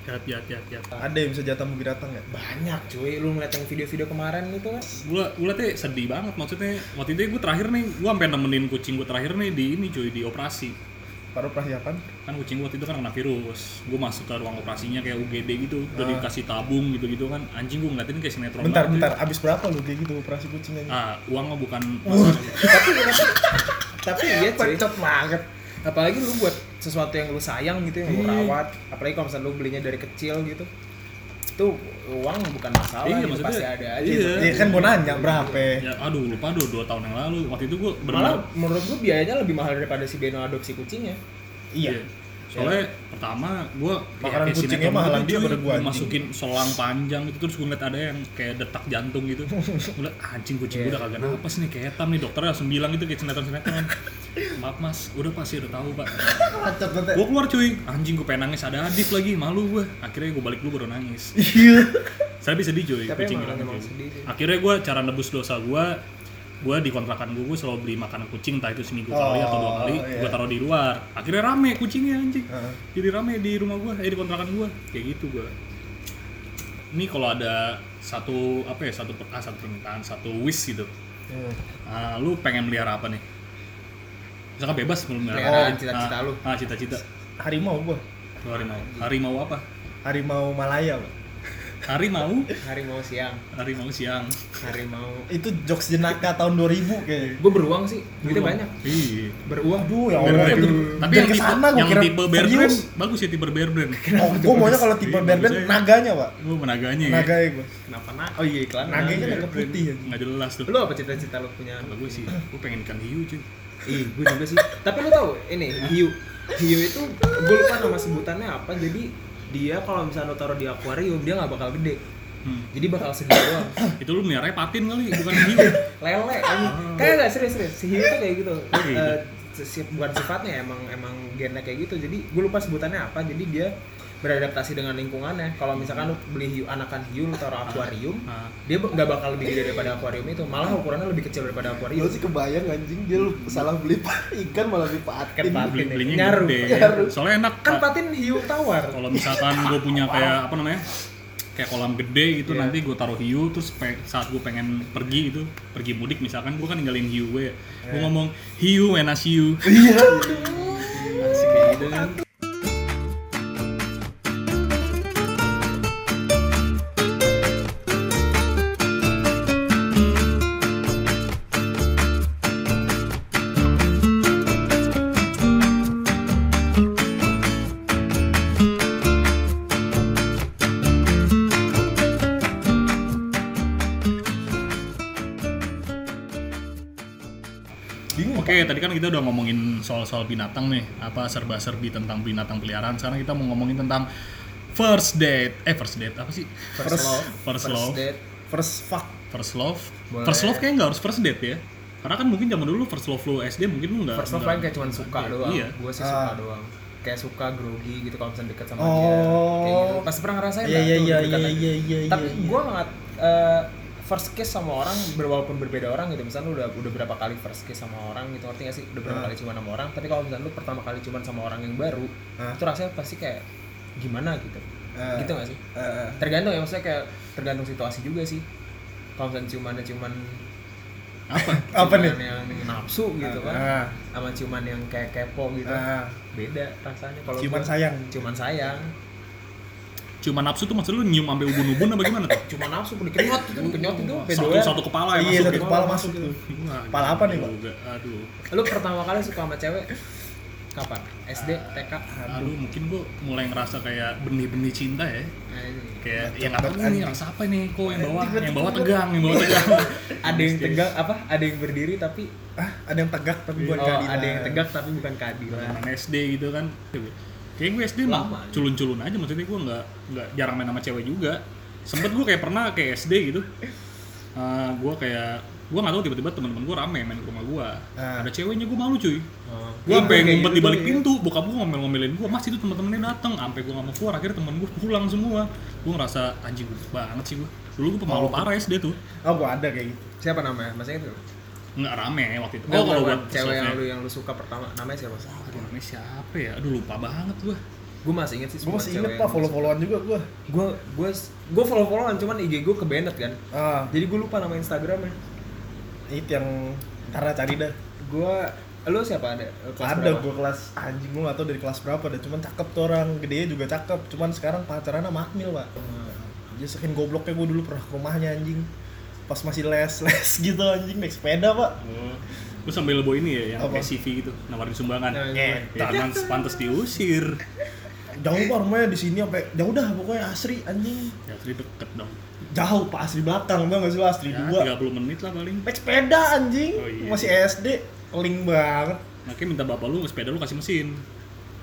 [SPEAKER 1] Hati hati hati hati.
[SPEAKER 3] Ada yang bisa jatah binatang ya?
[SPEAKER 2] banyak cuy lu ngeliat yang video-video kemarin itu kan
[SPEAKER 1] Gua gua teh sedih banget maksudnya waktu itu gua terakhir nih gua sampai nemenin kucing gua terakhir nih di ini cuy di operasi.
[SPEAKER 3] Paruh persiapan.
[SPEAKER 1] Kan kucing gua waktu itu kan kena virus. Gua masuk ke ruang operasinya kayak UGD gitu, udah dikasih tabung gitu-gitu kan. Anjing gua ngeliatin kayak sinetron.
[SPEAKER 3] Ah. Bentar,
[SPEAKER 1] banget,
[SPEAKER 3] bentar. Abis berapa lu kayak gitu operasi kucingnya?
[SPEAKER 1] cuy. Ah, uang mah bukan
[SPEAKER 3] Oh,
[SPEAKER 2] tapi iya cuy
[SPEAKER 3] Pencet banget.
[SPEAKER 2] apalagi lu buat sesuatu yang lu sayang gitu yang lu rawat apalagi kalau misalnya lu belinya dari kecil gitu itu uang bukan masalah
[SPEAKER 1] Iya,
[SPEAKER 2] itu
[SPEAKER 1] maksudnya-
[SPEAKER 2] pasti ada aja
[SPEAKER 1] iya.
[SPEAKER 2] gitu.
[SPEAKER 3] Iya kan gue nanya berapa?
[SPEAKER 1] ya aduh lupa dua dua tahun yang lalu. Waktu itu gua
[SPEAKER 2] malah
[SPEAKER 1] benar
[SPEAKER 2] menurut gua biayanya lebih mahal daripada si Beno adopsi ya. kucingnya
[SPEAKER 3] Iya.
[SPEAKER 1] Soalnya pertama gue
[SPEAKER 3] Makanan kucingnya mahalan dia pada gua anjing.
[SPEAKER 1] gitu, masukin selang panjang itu terus gue ngeliat ada yang kayak detak jantung gitu. Gue liat anjing kucing
[SPEAKER 3] Iya.
[SPEAKER 1] gue udah kagak napas nih kayak hitam nih dokternya langsung bilang gitu kayak sinetron-sinetron kan. Maaf mas, udah pasti udah tahu pak.
[SPEAKER 3] Kacet banget.
[SPEAKER 1] Gue keluar cuy, anjing gue pengen nangis ada adif lagi, malu gue. Akhirnya gue balik dulu baru nangis.
[SPEAKER 3] Iya.
[SPEAKER 1] Saya bisa sedih cuy,
[SPEAKER 2] tapi
[SPEAKER 1] kucing gitu.
[SPEAKER 2] emang,
[SPEAKER 1] hilang, Ah,
[SPEAKER 2] emang
[SPEAKER 1] cuy.
[SPEAKER 2] sedih sih
[SPEAKER 1] Akhirnya gue cara nebus dosa gue gue di kontrakan gue, gue selalu beli makanan kucing, entah itu seminggu sekali atau dua
[SPEAKER 3] Oh,
[SPEAKER 1] kali,
[SPEAKER 3] iya.
[SPEAKER 1] gue taruh di luar. Akhirnya rame kucingnya anjing
[SPEAKER 3] Heeh.
[SPEAKER 1] jadi rame di rumah gua eh di kontrakan gua kayak gitu gua ini kalau ada satu apa ya satu per, ah, satu permintaan satu wish gitu
[SPEAKER 3] Hmm.
[SPEAKER 1] Ah, lu pengen melihara apa nih misalkan bebas belum
[SPEAKER 2] Melihara,
[SPEAKER 1] melihara
[SPEAKER 2] cita-cita lu.
[SPEAKER 1] ah cita-cita
[SPEAKER 3] Harimau gua.
[SPEAKER 1] Lu harimau harimau apa
[SPEAKER 3] Harimau Malaya. Pak.
[SPEAKER 1] harimau
[SPEAKER 2] harimau siang
[SPEAKER 1] harimau siang
[SPEAKER 2] harimau
[SPEAKER 3] Itu jokes jenaka tahun 2000 kayaknya.
[SPEAKER 2] gua beruang sih duitnya banyak
[SPEAKER 1] iya
[SPEAKER 2] beruang
[SPEAKER 3] Aduh, ya
[SPEAKER 1] Bear
[SPEAKER 3] Allah.
[SPEAKER 1] brand.
[SPEAKER 3] Itu,
[SPEAKER 1] tapi
[SPEAKER 3] biar
[SPEAKER 1] yang tipe,
[SPEAKER 3] kesana gua
[SPEAKER 1] yang
[SPEAKER 3] kira
[SPEAKER 1] tipe bear
[SPEAKER 3] serius.
[SPEAKER 1] brand bagus ya tipe bear brand
[SPEAKER 3] Oh, gue maunya kalau tipe
[SPEAKER 1] Iya,
[SPEAKER 3] bear brand
[SPEAKER 1] bagus aja.
[SPEAKER 3] naganya, Pak.
[SPEAKER 1] lu menaganya ya
[SPEAKER 3] Naganya gue.
[SPEAKER 2] kenapa nak oh iya iklan Iya.
[SPEAKER 3] Naga. Naganya
[SPEAKER 1] Bear
[SPEAKER 3] naga
[SPEAKER 1] brand.
[SPEAKER 3] putih ya.
[SPEAKER 1] nggak jelas tuh
[SPEAKER 2] lu apa cita-cita lu punya
[SPEAKER 1] kalau gue sih gue pengen ikan hiu cuy
[SPEAKER 2] Ih, gue juga sih. Tapi lu tahu ini hiu. Hiu itu gue lupa nama sebutannya apa. Jadi dia kalau misalnya lu taruh di akuarium dia nggak bakal gede.
[SPEAKER 1] Hmm.
[SPEAKER 2] Jadi bakal sedih doang.
[SPEAKER 1] itu lu melihara patin kali bukan hiu
[SPEAKER 2] Lele. kan. Kayak nggak serius serius. Si hiu tuh kayak gitu. Eh, sisi- bukan sifatnya emang emang gennya kayak gitu jadi gue lupa sebutannya apa jadi dia beradaptasi dengan lingkungannya kalau misalkan lu beli hiu, anakan hiu lu taruh akuarium
[SPEAKER 1] Ah.
[SPEAKER 2] dia be- nggak bakal lebih gede daripada akuarium itu malah ukurannya lebih kecil daripada
[SPEAKER 4] Gue
[SPEAKER 2] akuarium
[SPEAKER 4] sih kebayang anjing dia lu salah beli ikan malah beli patin.
[SPEAKER 2] Ikan patin.
[SPEAKER 1] beli belinya
[SPEAKER 2] Nyaru.
[SPEAKER 1] gede
[SPEAKER 4] Nyaru.
[SPEAKER 1] soalnya enak
[SPEAKER 2] kan
[SPEAKER 1] Pak.
[SPEAKER 2] patin hiu tawar
[SPEAKER 1] kalau misalkan gue punya kayak apa namanya kayak kolam gede gitu
[SPEAKER 2] Iya.
[SPEAKER 1] nanti gue taruh hiu terus pe- saat gue pengen pergi gitu pergi mudik misalkan gue kan ninggalin hiu gue ya. gue ngomong hiu when I see you
[SPEAKER 2] Asik kayak gitu kan.
[SPEAKER 3] bingung
[SPEAKER 1] Oke, tadi kan kita udah ngomongin soal-soal binatang nih, apa serba-serbi tentang binatang peliharaan. Sekarang kita mau ngomongin tentang first date. Eh, first date apa sih?
[SPEAKER 2] first love
[SPEAKER 1] First love.
[SPEAKER 2] date
[SPEAKER 3] first fuck
[SPEAKER 1] First love.
[SPEAKER 2] Boleh.
[SPEAKER 1] First love kayaknya nggak harus first date ya. Karena kan mungkin zaman dulu first love lu SD mungkin lu nggak.
[SPEAKER 2] first love
[SPEAKER 1] nggak-
[SPEAKER 2] paling kayak cuman suka doang
[SPEAKER 1] Iya.
[SPEAKER 2] gue sih suka
[SPEAKER 3] Ah.
[SPEAKER 2] doang kayak suka grogi gitu kalau misalnya deket sama
[SPEAKER 3] Oh.
[SPEAKER 2] dia kayak gitu pasti pernah
[SPEAKER 3] Iya,
[SPEAKER 2] ngerasain nggak
[SPEAKER 3] iya,
[SPEAKER 2] tuh
[SPEAKER 3] iya,
[SPEAKER 2] deket-deketan?
[SPEAKER 3] iya, iya, iya,
[SPEAKER 2] tapi
[SPEAKER 3] iya.
[SPEAKER 2] gue nggak first kiss sama orang ber- walaupun berbeda orang gitu misalnya lu udah udah berapa kali first kiss sama orang gitu ngerti gak sih udah berapa kali cuma sama orang tapi kalau misalnya lu pertama kali cuma sama orang yang baru
[SPEAKER 3] Ah.
[SPEAKER 2] itu rasanya pasti kayak gimana gitu
[SPEAKER 3] Ah.
[SPEAKER 2] gitu gak sih
[SPEAKER 3] Eh,
[SPEAKER 2] tergantung ya maksudnya kayak tergantung situasi juga sih kalau misalnya ciumannya cuman
[SPEAKER 1] Apa?
[SPEAKER 3] apa nih
[SPEAKER 2] cuman yang nafsu gitu kan
[SPEAKER 3] Ah,
[SPEAKER 2] sama ciuman yang kayak kepo gitu
[SPEAKER 3] ah,
[SPEAKER 2] beda rasanya kalau
[SPEAKER 3] ciuman
[SPEAKER 2] gua-
[SPEAKER 3] sayang
[SPEAKER 2] cuman sayang
[SPEAKER 1] Cuma nafsu tuh maksud lu nyium sampai ubun-ubun apa gimana tuh?
[SPEAKER 2] cuman nafsu udah kenyot itu udah kenyot itu
[SPEAKER 1] Satu,
[SPEAKER 2] pedoan
[SPEAKER 1] satu kepala ya
[SPEAKER 3] iya
[SPEAKER 1] masuk
[SPEAKER 3] satu
[SPEAKER 1] gitu.
[SPEAKER 3] kepala masuk tuh
[SPEAKER 1] Wah,
[SPEAKER 3] Kepala apa nih, Pak?
[SPEAKER 1] juga. Aduh.
[SPEAKER 2] lu pertama kali suka sama cewek kapan SD TK
[SPEAKER 1] Aduh, mungkin gua mulai ngerasa kayak benih-benih cinta ya.
[SPEAKER 2] Anjing.
[SPEAKER 1] Kayak ya nggak tahu nih rasa apa nih kok yang bawah yang bawah tegang, yang bawah tegang.
[SPEAKER 2] ada yang tegang apa ada yang berdiri tapi
[SPEAKER 3] ah ada yang tegak tapi bukan
[SPEAKER 2] oh,
[SPEAKER 3] keadilan.
[SPEAKER 2] ada yang tegak tapi bukan keadilan
[SPEAKER 1] Zaman SD gitu kan. Kayak gue SD mah
[SPEAKER 2] Lama.
[SPEAKER 1] culun-culun aja maksudnya gue nggak nggak jarang main sama cewek juga. Sempet gue kayak pernah kayak SD gitu. Eh, gue kayak gue nggak tahu tiba-tiba teman-teman gue rame main ke rumah gue.
[SPEAKER 3] Ah.
[SPEAKER 1] Ada ceweknya gue malu cuy.
[SPEAKER 2] Oh.
[SPEAKER 1] Gue
[SPEAKER 2] Iya,
[SPEAKER 1] sampai
[SPEAKER 2] kayak
[SPEAKER 1] ngumpet
[SPEAKER 2] gitu
[SPEAKER 1] di balik
[SPEAKER 2] ya.
[SPEAKER 1] pintu, bokap gue ngomel-ngomelin gue, mas itu teman-temannya datang, sampai gue nggak mau keluar, akhirnya teman gue pulang semua. Gue ngerasa anjing gue banget sih gue. Dulu gue pemalu parah SD tuh,
[SPEAKER 3] oh gua ada kayak gitu
[SPEAKER 2] siapa namanya masih itu
[SPEAKER 1] nggak rame waktu itu.
[SPEAKER 2] oh kalau
[SPEAKER 1] buat
[SPEAKER 2] cewek yang lu
[SPEAKER 1] sosmed.
[SPEAKER 2] yang lu suka pertama namanya siapa sih
[SPEAKER 1] Aduh, namanya siapa ya? Aduh lupa banget gue.
[SPEAKER 2] gue masih inget sih
[SPEAKER 3] gua masih inget pak follow followan juga gua
[SPEAKER 2] gue gue gue follow followan cuman IG gue ke Bennett kan
[SPEAKER 3] ah
[SPEAKER 2] jadi gue lupa nama Instagramnya
[SPEAKER 3] itu yang karena cari dah
[SPEAKER 2] gue lu siapa ada Kelas
[SPEAKER 3] ada
[SPEAKER 2] berapa?
[SPEAKER 3] gua kelas anjing gua gak tau dari kelas berapa dah cuman cakep tuh orang gedenya juga cakep cuman sekarang pacaran sama Akmil pak dia saking gobloknya gua dulu pernah ke rumahnya anjing pas masih les les gitu anjing naik sepeda pak
[SPEAKER 1] Lu Oh. sambil lebo ini ya yang
[SPEAKER 3] Apa?
[SPEAKER 1] kayak CV gitu, nawarin sumbangan.
[SPEAKER 2] Nah,
[SPEAKER 1] Eh, tangan pantas diusir.
[SPEAKER 3] jauh pak rumahnya di sini sampai jauh dah pokoknya asri anjing
[SPEAKER 1] Ya, jadi deket dong.
[SPEAKER 3] jauh pak asri belakang bang gak sih lo asri
[SPEAKER 1] Ya,
[SPEAKER 3] dua
[SPEAKER 1] 30 menit lah paling.
[SPEAKER 3] naik sepeda anjing
[SPEAKER 1] Oh, iya.
[SPEAKER 3] masih SD link banget
[SPEAKER 1] Makanya minta bapak lu sepeda lu kasih mesin.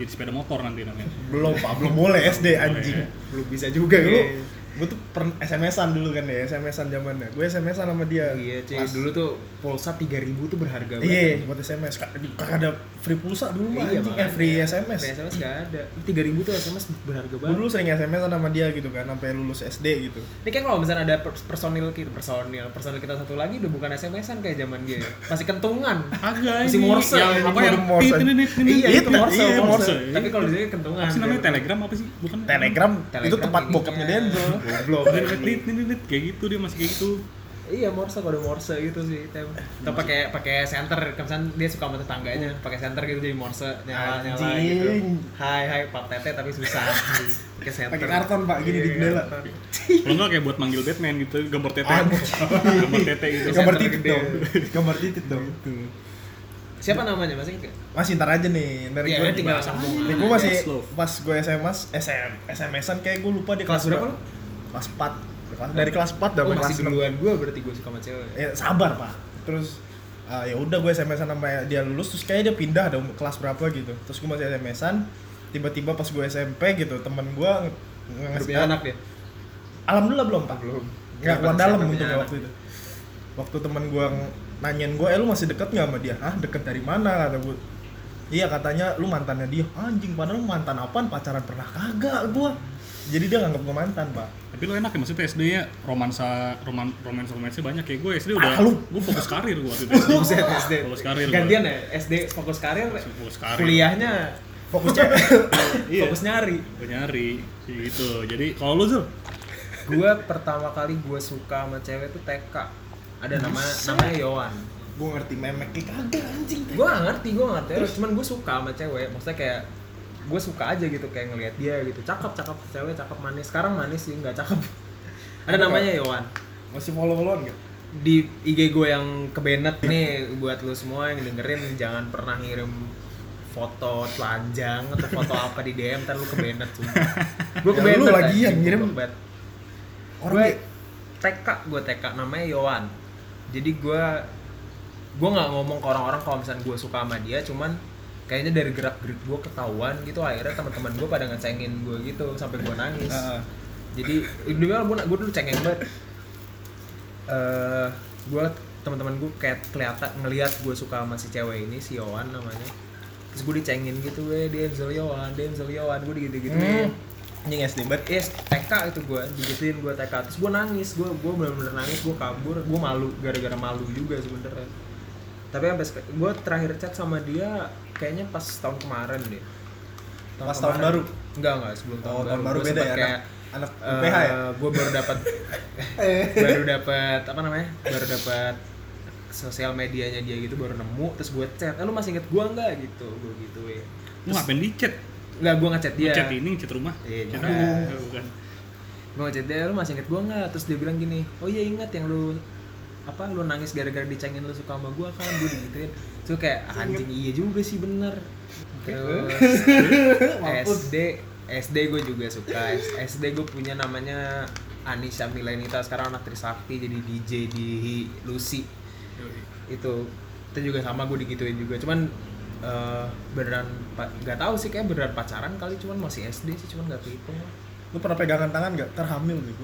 [SPEAKER 1] Jadi sepeda motor nanti namanya.
[SPEAKER 3] belum pak belum boleh SD anjing
[SPEAKER 2] belum bisa juga
[SPEAKER 1] Iya.
[SPEAKER 3] dulu
[SPEAKER 2] kayaknya.
[SPEAKER 3] gue tuh pernah SMS-an dulu kan ya SMS-an zamannya gue SMS-an sama dia
[SPEAKER 2] Iya, cuy.
[SPEAKER 3] Pas-
[SPEAKER 2] Dulu tuh pulsa 3000 tuh berharga
[SPEAKER 3] iya buat SMS Kak- kagak ada free pulsa dulu mah
[SPEAKER 2] Iya,
[SPEAKER 3] anjing eh,
[SPEAKER 2] makanya.
[SPEAKER 3] free SMS
[SPEAKER 2] Free SMS nggak ada. 3000 tuh SMS berharga
[SPEAKER 3] gue
[SPEAKER 2] banget.
[SPEAKER 3] dulu sering SMS sama dia gitu kan sampai lulus SD gitu
[SPEAKER 2] Ini kan kalau misalnya ada per- personil kita, personil, personil kita satu lagi udah bukan SMS-an kayak zaman dia. ya. Masih kentungan.
[SPEAKER 1] Agak
[SPEAKER 2] Masih
[SPEAKER 1] ini
[SPEAKER 2] Morse
[SPEAKER 1] yang
[SPEAKER 2] ya,
[SPEAKER 1] apa
[SPEAKER 3] ini
[SPEAKER 1] yang
[SPEAKER 3] Morse.
[SPEAKER 1] tit, ini, ini, ini.
[SPEAKER 2] iya,
[SPEAKER 3] iya,
[SPEAKER 2] itu Morse,
[SPEAKER 3] iya,
[SPEAKER 2] Morse.
[SPEAKER 1] Morse.
[SPEAKER 2] Tapi kalau di sini kentungan.
[SPEAKER 1] Apa sih namanya telegram apa sih? Bukan
[SPEAKER 3] Telegram,
[SPEAKER 2] Telegram
[SPEAKER 3] itu tempat
[SPEAKER 2] ini.
[SPEAKER 3] bokapnya Denzel
[SPEAKER 2] Goblok.
[SPEAKER 1] Tit, tit, tit, tit, kayak gitu dia masih kayak gitu.
[SPEAKER 2] Iya, Morse kalau ada Morse gitu sih.
[SPEAKER 3] Eh,
[SPEAKER 2] Tem. Atau pakai pakai center, kemudian dia suka sama tetangganya, pakai center gitu jadi Morse nyala-nyala gitu.
[SPEAKER 3] Oh. Anjing.
[SPEAKER 2] Hai, hai Pak Tete tapi susah. pakai center.
[SPEAKER 3] pakai karton pak gini di
[SPEAKER 2] Iya,
[SPEAKER 3] jendela
[SPEAKER 2] karton.
[SPEAKER 1] Kalau enggak kayak buat manggil Batman gitu, gambar tete. gambar tete gitu.
[SPEAKER 3] gambar
[SPEAKER 2] Center
[SPEAKER 3] titik
[SPEAKER 2] gede. Gitu.
[SPEAKER 3] dong gambar titik dong
[SPEAKER 2] Siapa namanya Mas ingat nggak?
[SPEAKER 3] masih ntar aja nih ntar
[SPEAKER 2] Iya,
[SPEAKER 3] gue
[SPEAKER 2] tinggal sambung. Iya,
[SPEAKER 3] Nih, gue masih
[SPEAKER 1] Yes, love.
[SPEAKER 3] pas gue SMS SM SMS-an kayak gue lupa di
[SPEAKER 2] Kelas
[SPEAKER 3] kelas
[SPEAKER 2] berapa
[SPEAKER 3] berapa
[SPEAKER 2] lu?
[SPEAKER 3] kelas 4 Kelas- dari kelas 4
[SPEAKER 2] Oh,
[SPEAKER 3] sampai kelas
[SPEAKER 2] masih
[SPEAKER 3] 6
[SPEAKER 2] duluan gue berarti gue suka sama cewek.
[SPEAKER 3] ya sabar pak terus ah, ya udah gue sms an sama dia lulus terus kayaknya dia pindah dong ke kelas berapa gitu terus gue masih sms an tiba-tiba pas gue SMP gitu teman gue nge- nge- ngasih
[SPEAKER 2] Punya anak dia.
[SPEAKER 3] alhamdulillah belum pak
[SPEAKER 2] Belum.
[SPEAKER 3] nggak kuat
[SPEAKER 2] Kenapa
[SPEAKER 3] dalam
[SPEAKER 2] SMP punya
[SPEAKER 3] untungnya
[SPEAKER 2] anak?
[SPEAKER 3] waktu itu waktu teman gue nanyain gue eh lu masih deket nggak sama dia ah deket dari mana kata gue iya katanya lu mantannya dia anjing padahal mantan apaan pacaran pernah kagak gua jadi dia nganggap gua mantan pak
[SPEAKER 1] Tapi lo enak ya maksudnya SD nya romansa roman romans romansnya banyak ya. Gue SD udah
[SPEAKER 3] Ah, lu.
[SPEAKER 1] gue fokus karir gue waktu itu.
[SPEAKER 2] Buset, SD.
[SPEAKER 1] Fokus karir.
[SPEAKER 2] Gantian ya, SD fokus karir,
[SPEAKER 1] Fokus- fokus karir.
[SPEAKER 2] kuliahnya
[SPEAKER 3] fokus cewek Iya.
[SPEAKER 2] fokus nyari.
[SPEAKER 1] Gue nyari gitu. Jadi kalau lu tuh
[SPEAKER 2] Gua pertama kali gua suka sama cewek tuh TK. Ada nama namanya Yowan.
[SPEAKER 3] gua ngerti memek kayak kagak anjing
[SPEAKER 2] Gua gak ngerti, gua gak ngerti. Cuman gua suka sama cewek. Maksudnya kayak gua suka aja gitu kayak ngelihat dia gitu. Cakep, cakep cewek, cakep manis. Sekarang manis sih nggak cakep. Ada namanya Yowan.
[SPEAKER 3] masih follow followan gak?
[SPEAKER 2] di IG gue yang kebenet nih buat lu semua yang dengerin jangan pernah ngirim foto telanjang atau foto apa di DM ntar lu kebenet sumpah. Gue
[SPEAKER 3] Ya, lu lagian ngirim. orang
[SPEAKER 2] Gue
[SPEAKER 3] kayak-
[SPEAKER 2] TK, gue TK namanya Yohan. Jadi gue gue nggak ngomong ke orang-orang kalau misalnya gue suka sama dia, cuman kayaknya dari gerak gerik gue ketahuan gitu akhirnya teman-teman gue pada ngecengin gue gitu sampai gue nangis
[SPEAKER 3] Ah,
[SPEAKER 2] jadi eh, dulu gue gue dulu cengeng banget eh gue teman-teman gue kayak kelihatan ngelihat gue suka sama si cewek ini si Yohan namanya terus gue dicengin gitu weh Denzel Yohan Denzel Yohan gue gitu gitu
[SPEAKER 3] Hmm. anjing SD banget
[SPEAKER 2] Yes, TK Iya, itu gue digituin gue TK terus gue nangis gue gue bener-bener nangis gue kabur gue malu gara-gara malu juga sebenernya tapi sampai gue terakhir chat sama dia kayaknya pas tahun kemarin deh
[SPEAKER 3] Pas tahun baru?
[SPEAKER 2] enggak enggak sebelum tahun
[SPEAKER 3] oh
[SPEAKER 2] baru
[SPEAKER 3] tahun baru
[SPEAKER 2] Gua
[SPEAKER 3] beda
[SPEAKER 2] sempet
[SPEAKER 3] ya
[SPEAKER 2] kayak,
[SPEAKER 3] anak anak
[SPEAKER 2] eh
[SPEAKER 3] UPH ya Eh.
[SPEAKER 2] Gue baru dapat baru dapat apa namanya? Baru dapat sosial medianya dia gitu baru nemu terus gue chat, "Eh lu masih inget gue enggak?" gitu. Gue gituin.
[SPEAKER 1] lu ngapain di chat?
[SPEAKER 2] Enggak, gue ngechat dia.
[SPEAKER 1] Chat ini, chat rumah.
[SPEAKER 2] Iya,
[SPEAKER 1] Chat
[SPEAKER 2] jangan.
[SPEAKER 1] apa? Eh, bukan.
[SPEAKER 2] Gue ngechat dia, "Lu masih inget gue enggak?" Terus dia bilang gini, "Oh iya ingat yang lu apa lu nangis gara-gara dicengin lu suka sama gue kan?" Gue digituin. Terus kayak "Ah, anjing iya juga sih bener. Terus SD SD gue juga suka SD gue punya namanya Anissa Milenita sekarang anak Trisakti jadi DJ di Lucy itu itu juga sama gue digituin juga cuman eh, beneran pa- nggak tahu sih kayak beneran pacaran kali cuman masih SD sih cuman nggak kehitung
[SPEAKER 3] lu pernah pegangan tangan gak? terhamil gitu